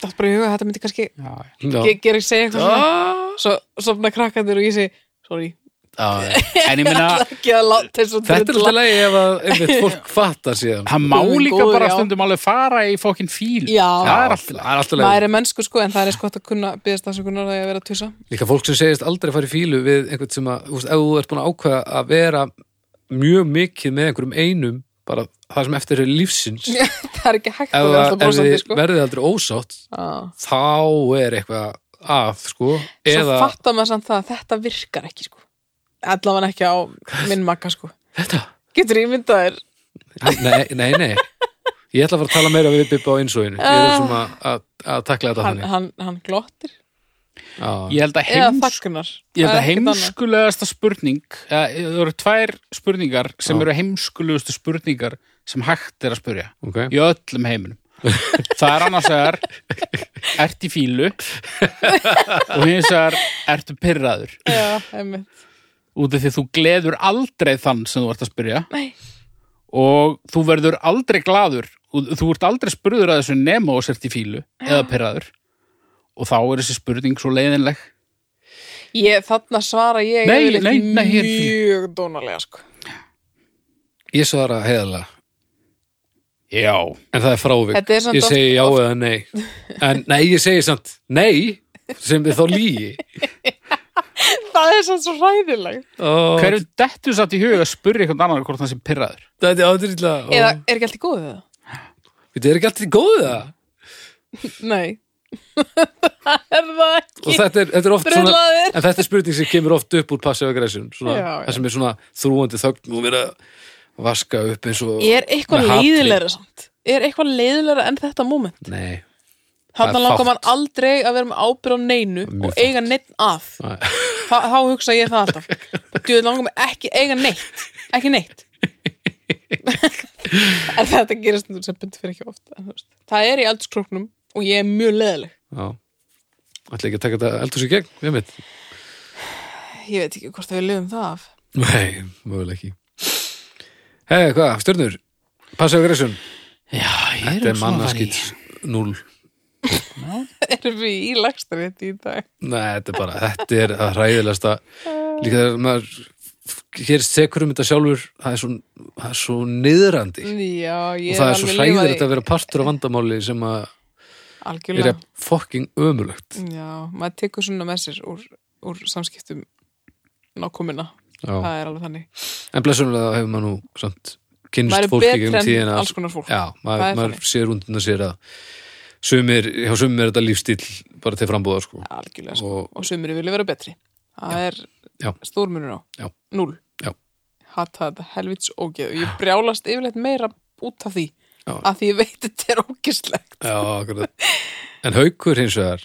C: það er bara í huga að þetta myndi kannski
A: Já,
B: já, Ah.
C: ég ger ekki segja eitthvað svona svo sopna krakkandir og ég segi sorry,
A: já. En ég
C: ég
A: meina,
C: ætla ekki að láta þessu
B: þetta er alltaf
C: drulla.
B: leið ef að einmitt fólk fattar síðan
A: hann má
C: Guð minn
A: líka
C: góður,
A: bara
C: já.
A: stundum alveg fara í fókin fíl
C: Já.
A: Það er alltaf
B: það er alltaf leið
C: maður er mennsku sko en það er sko hægt að kunna byggðast afsökunar að ég vera að tussa
B: líka fólk sem segist aldrei að fara í fílu við einhvern sem að, þú veist, ef þú ert búin að ákveða að vera mjög mikið með einhverjum einum, bara það sem eftir er lífsins, ef,
C: það er ekki hægt að vera
B: að-
C: alltaf
B: ef
C: brosandi
B: þið
C: sko Ah.
B: verðið aldrei ósátt
C: Já.
B: þá er eitthvað að, sko
C: svo
B: eða,
C: fattar maður samt það að þetta virkar ekki sko allavega ekki á minn makka sko
B: þetta
C: getur ímyndað þér
B: nei, nei, nei ég ætla að fara að tala meira við Bibba á einsóinu ég
C: Ah.
B: er svona að, að takla þetta
C: hann,
B: þannig
C: hann, hann glottir Ah.
B: Já.
A: Ég held að
C: eða
A: heims
C: þakkunar
A: Ég held
C: Það
A: að
C: er ekkert annað.
A: heimskulegasta spurning eða, það eru tvær spurningar sem
B: Já.
A: eru heimskulegustu spurningar sem hægt er að spurja
B: ok,
A: í öllum heiminum það er annars vegar ert í fílu og hins vegar ertu pyrraður
C: Já, einmitt.
A: út af því að þú gleður aldrei þann sem þú ert að spyrja
C: Nei.
A: og þú verður aldrei gladur og þú ert aldrei spurður að þessu nema og sért í fílu eða pyrraður og þá er þessi spurning svo leiðinleg
C: Ég, þarna svara ég
A: Nei,
C: yfirleitt
A: nei, nei, ég er
C: mjög dónalega sko.
B: ég svara heiðalega
A: Já,
B: en það er frávik,
C: Þetta er samt
B: ég
C: oft-
B: segi já eða nei en nei, ég segi samt nei sem við þá lígi
C: Það er samt svo hræðileg
B: oh,
A: hverju dettu satt í huga að spurja eitthvað annar hvort það sé pyrraður
B: Þetta er ádrýtla
C: Eða er ekki allt í góðu það?
B: Þetta er ekki alltaf góðu það
C: Nei Það er það
B: og
C: ekki
B: þetta er, þetta er oft svona
C: Brunlaðir.
B: en þetta er spurning sem kemur oft upp úr passive aggression svona,
C: Já, já.
B: það sem er svona þrúandi þögn og verið að vaska upp eins og
C: Er eitthvað
B: með hatri.
C: leiðilegra samt? Er eitthvað leiðilegra en þetta moment?
B: Nei, Það
C: Þannig
B: er
C: langar
B: fátt.
C: mann aldrei að vera með ábyrð á neinu
B: Mjög
C: og eiga neitt að
B: Nei.
C: Þa, Þá hugsa ég það alltaf Þú langar mig ekki eiga neitt Ekki neitt En þetta gerist nú sem betur fyrir ekki oft en, þú veist, Það er í aldurskróknum og ég er mjög leiðileg
B: já ætla ekki að taka þetta eldur sér gegn, við mitt
C: Ég veit ekki hvort að við lifum það af
B: Nei, mögulega ekki Hei, hvað, stjörnur passive aggression,
A: Já, ég er
B: þetta
A: svona
B: er
A: að
B: mannaskitt
A: fara í-
B: null
C: Erum við í lagstarétti í dag?
B: Nei, þetta er bara, þetta er að hræðilegasta líka þegar maður hér sekur um þetta sjálfur það er svo, það er svo niðrandi
C: Já, ég
B: og það
C: hef
B: er svo
C: alveg lifað
B: hræðilegt
C: í-
B: að vera partur af vandamáli sem að er
C: Algjörlega,
B: jafn fucking ömulegt
C: já, maður tekur svona með sér úr, úr samskiptum nákomina,
B: Já.
C: það er alveg þannig
B: en blessunlega hefur maður nú samt
C: Maður
B: kynst
C: er
B: fólki
C: betri
B: gegn
C: en
B: um tíðina
C: alls konar fólk.
B: já,
C: Það
B: maður,
C: er
B: maður
C: þannig.
B: sér undan sér að sumir, hjá sumir er þetta lífstíl bara til frambúðar sko
C: algjörlega, sko.
B: Og-
C: og, sumir vilja vera betri það er
B: Já.
C: stórmunur á
B: Já.
C: núl,
B: Já.
C: hata þetta helvits ógeð og ég brjálast yfirleitt meira út af því,
B: Já.
C: af því ég veit þetta er ógeðslegt
B: já, akkurat. en haukur hins vegar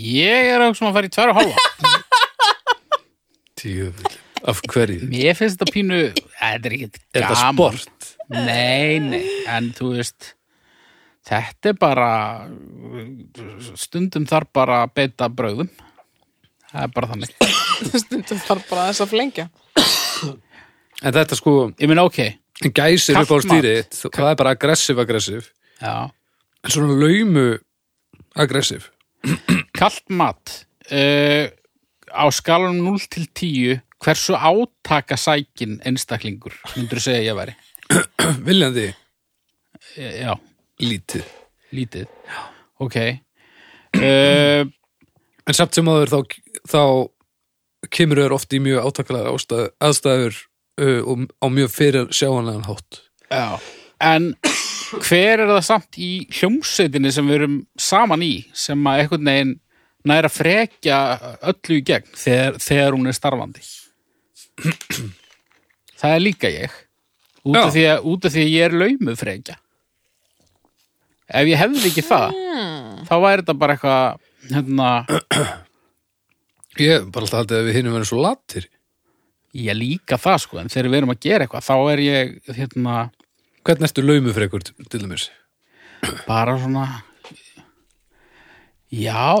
A: Ég er að hugsa um að fara í tvær og hálfa
B: djöfull, af hverju
A: Mér finnst þetta pínu Þetta er ekkert
B: er þetta
A: gaman.
B: sport
A: Nei, nei, en þú veist Þetta er bara Stundum þarf bara að beita bröðum Það er bara þannig
C: stundum þarf bara þess að flengja
B: en þetta sko,
A: Ég meina, ok,
B: en gæsir
A: Kalt
B: upp á stýri
A: mat.
B: það er bara aggressiv aggressiv
A: já
B: en svona um laumu aggressiv
A: Kalt mat uh, á skalanum 0 til 10 hversu átaka sækin einstaklingur, myndur segja að ég væri
B: viljandi
A: Eh, Já,
B: lítið
A: lítið Ok uh,
B: En samt sem áður þá, þá kemur þér oft í mjög átakalega ástæð, aðstæður uh, og á mjög fyrir sjáanlegan hátt.
A: Já En hver er það samt í hljómsveitinni sem við erum saman í sem að einhvern veginn næra frekja öllu í gegn þegar, þegar hún er starfandi Það er líka ég út af,
B: Já.
A: því að, út af því að ég er laumu frekja Ef ég hefði ekki það þá væri þetta bara eitthvað hérna,
B: Ég hef bara alltaf haldið að við hinum verðum svo latir.
A: ég líka það sko en þegar við erum að gera eitthvað þá er ég hérna,
B: Hvernig ertu laumu fyrir ykkur til dæmis?
A: bara svona já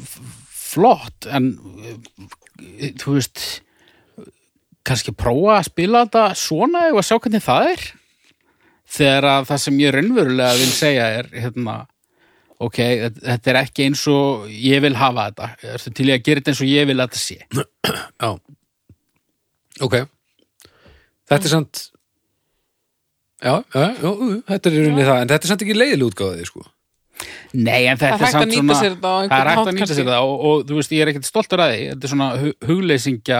A: f- flott en eh, þú veist kannski prófa að spila þetta svona og að sjá hvernig það er þegar að það sem ég raunverulega vil segja er hérna ok, þet- þetta er ekki eins og ég vil hafa þetta, ertu til í að gera þetta eins og ég vil að þetta sé
B: Já. Ok. Þetta er samt... Já, já, já, já, þetta er í rauninni það. En þetta er samt ekki leiðileg útgáðið, sko.
A: Nei, en
C: Það
A: þetta
C: er hægt að
A: samt
C: nýta
A: svona
C: sér þetta á einhvern
A: Það er hægt að
C: hátt
A: nýta
C: kannski.
A: sér þetta og, og þú veist, ég er ekkert stoltur að því þetta er svona hu- hugleysingja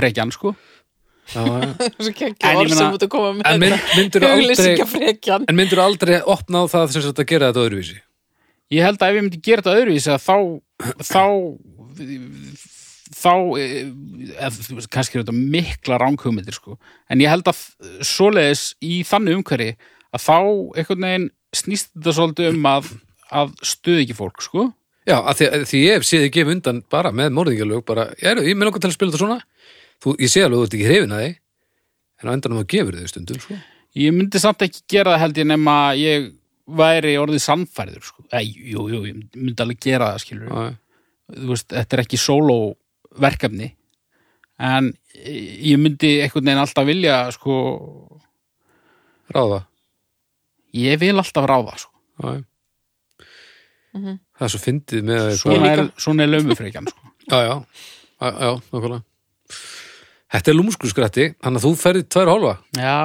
A: frekjan, sko
B: Já, já.
C: þessu
A: En
C: kekki
A: ég
C: orð sem
A: meina-
C: út að koma
B: En
C: með
B: mynd, myndur aldrei...
C: frekjan
B: En myndur aldrei opna á það sem þetta að gera þetta öðruvísi?
A: Ég held að ef ég myndi gera þetta öðruvísi að þá þá þá eða, þú veist, kannski er þetta mikla ránkumindir sko. en ég held að svoleiðis í þannig umhverfi að þá einhvern veginn snýst þetta svolítið um að, að stuð ekki fólk sko.
B: Já, að því, að því ég hef séð ekki um undan bara með morðingalög, bara, ég er, ég með langar til að spila þetta svona þú, ég sé alveg að þú ert ekki hrifin að því en á endanum þú gefur þau stundum sko.
A: ég myndi samt ekki gera það held ég nema að ég væri orðið sannfæriður sko. Ei, jú, jú, ég myndi alveg gera það skilur
B: Já,
A: þú veist, þetta er ekki sóló verkefni en eh, ég myndi einhvern veginn alltaf vilja sko,
B: ráða
A: ég vil alltaf ráða sko.
B: Já. Það er svo fyndið með að-
A: svona,
C: Ég
A: er,
C: líka.
A: svona er laumufreikjan sko.
B: Já, já, já, já, nákvæmlega Þetta er lúmskurskrætti þannig að þú ferði tvær og hálfa
A: já,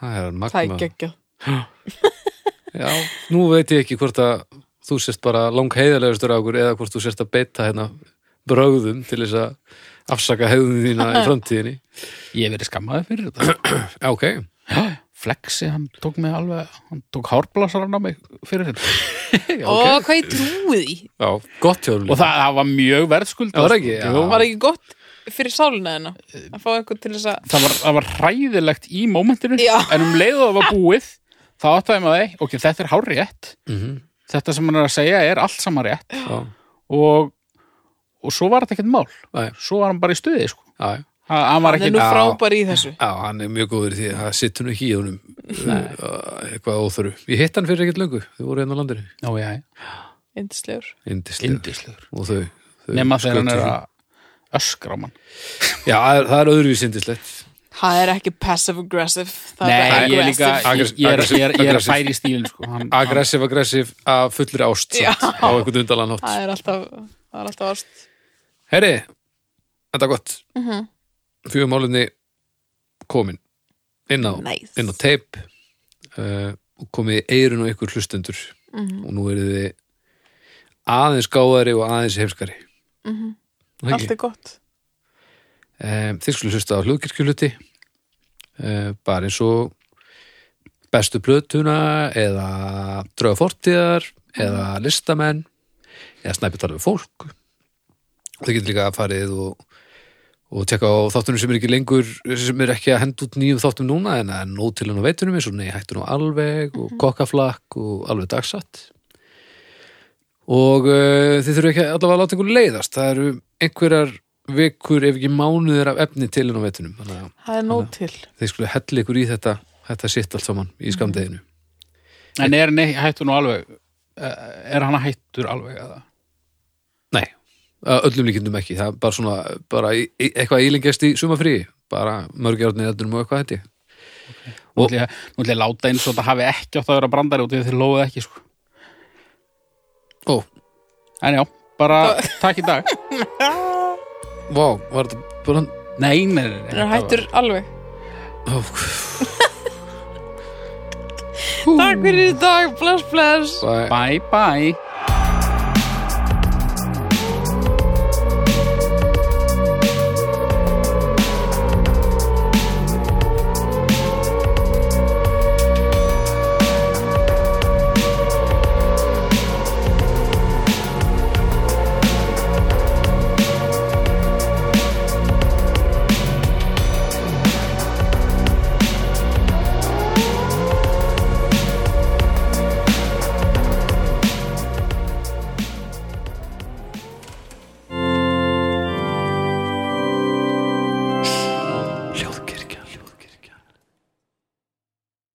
B: Það
C: Það
B: er
C: er
B: magma
C: geggjað
B: Já, nú veit ég ekki hvort að þú sért bara langheiðarlegastur á okkur eða hvort þú sért að beita hérna brögðum til þess að afsaka hegðun þína í framtíðinni
A: ég verið skammaði fyrir þetta
B: Já, ok,
A: Flexi, hann tók mig alveg hann tók hárblásaran á mig fyrir þetta
C: og hvað ég trúið í
B: Já, gott hjá
A: og það, það var mjög verðskuld
B: Það var ekki, já. Eh,
A: það,
C: var ekki gott fyrir sálina hérna að fá eitthvað til þess að
A: það, var, það var hræðilegt í mómentinu
C: Já.
A: en um leið og það var búið þá áttaði maður þeim, ok, þetta er hárrétt
B: Mhm.
A: þetta sem hann er að segja er allt saman rétt
B: Já,
A: og, og svo var þetta ekkert mál
B: Nei.
A: svo var hann bara í stuði sko.
B: já, já.
A: hann, hann var
C: hann
A: ekki
C: er nú
B: Já.
C: frábær í þessu
B: Já, hann er mjög góður í því að það sittur nú ekki í honum uh, eitthvað óþöru. Ég hitt hann fyrir ekkert löngu, þau voru einn á landinu.
A: Ó, já, já.
C: yndislegur
B: Indislega.
A: indislegur
B: Og þau, þau
A: nema þegar hann er
B: skutu-
A: að öskra á mann
B: Já, það er- það er öðruvís indislegt.
C: það er ekki passive aggressive það er
A: Nei,
C: bara
A: ég er líka
C: aggressive
A: ég, ég, er, ég, er, ég er að
B: Aggressive.
A: færi í stílinn sko. hann, hann,
B: Aggressiv, aggressiv af fullri ást
C: Já.
B: samt, á einhvern undalann hátt.
C: það er alltaf það er alltaf ást
B: Herri, þetta er gott. Mm
C: Mhm.
B: -hmm. Fjögum málunni komin inn á,
C: Nice.
B: inn á teip uh, og komið í eirun og ykkur hlustendur
C: Mhm.
B: og nú eru þið aðeins gáðari og aðeins heimskari. Mm
C: Mhm. allt er gott
B: um, þið skulle hlusta á hlugkirkjuluti um, bara eins og bestu plötuna eða drauga fortíðar eða listamenn eða snæpi tala við fólk og þið getur líka farið og og tekka á þáttunum sem er ekki lengur sem er ekki að henda út nýjum þáttum núna en að nóg til hann á veitunum eins og nei hættu nú alveg og kokkaflakk og alveg dagsatt og uh, þið þurfum ekki allavega að láta einhver leiðast það eru einhverjar vikur ef ekki mánuðir af efni til en á veitunum þannig að
C: það er nóg til
B: þið skulle hella ykkur í þetta þetta sitt allt saman í skamdeginu
A: en er hann hættur nú alveg eh, er hann hættur alveg eða?
B: nei, að öllum líkindum ekki það er bara svona, bara í, í- eitthvað ílingast í sumafrí, bara mörgjörni eðnum og eitthvað hætti
A: nú
B: Og-
A: ætla ég- nú ætla ég að láta eins og þetta hafi ekki átt að vera brandari út í því að þið lóðið ekki sko.
B: ó,
A: en já, bara takk í dag
B: vá, var þetta bara
A: nei, nei, nei, nei
C: hann er
A: þetta
C: hættur alveg
B: ó,
C: takk fyrir í dag bless bless
B: bæ
A: var- bye bye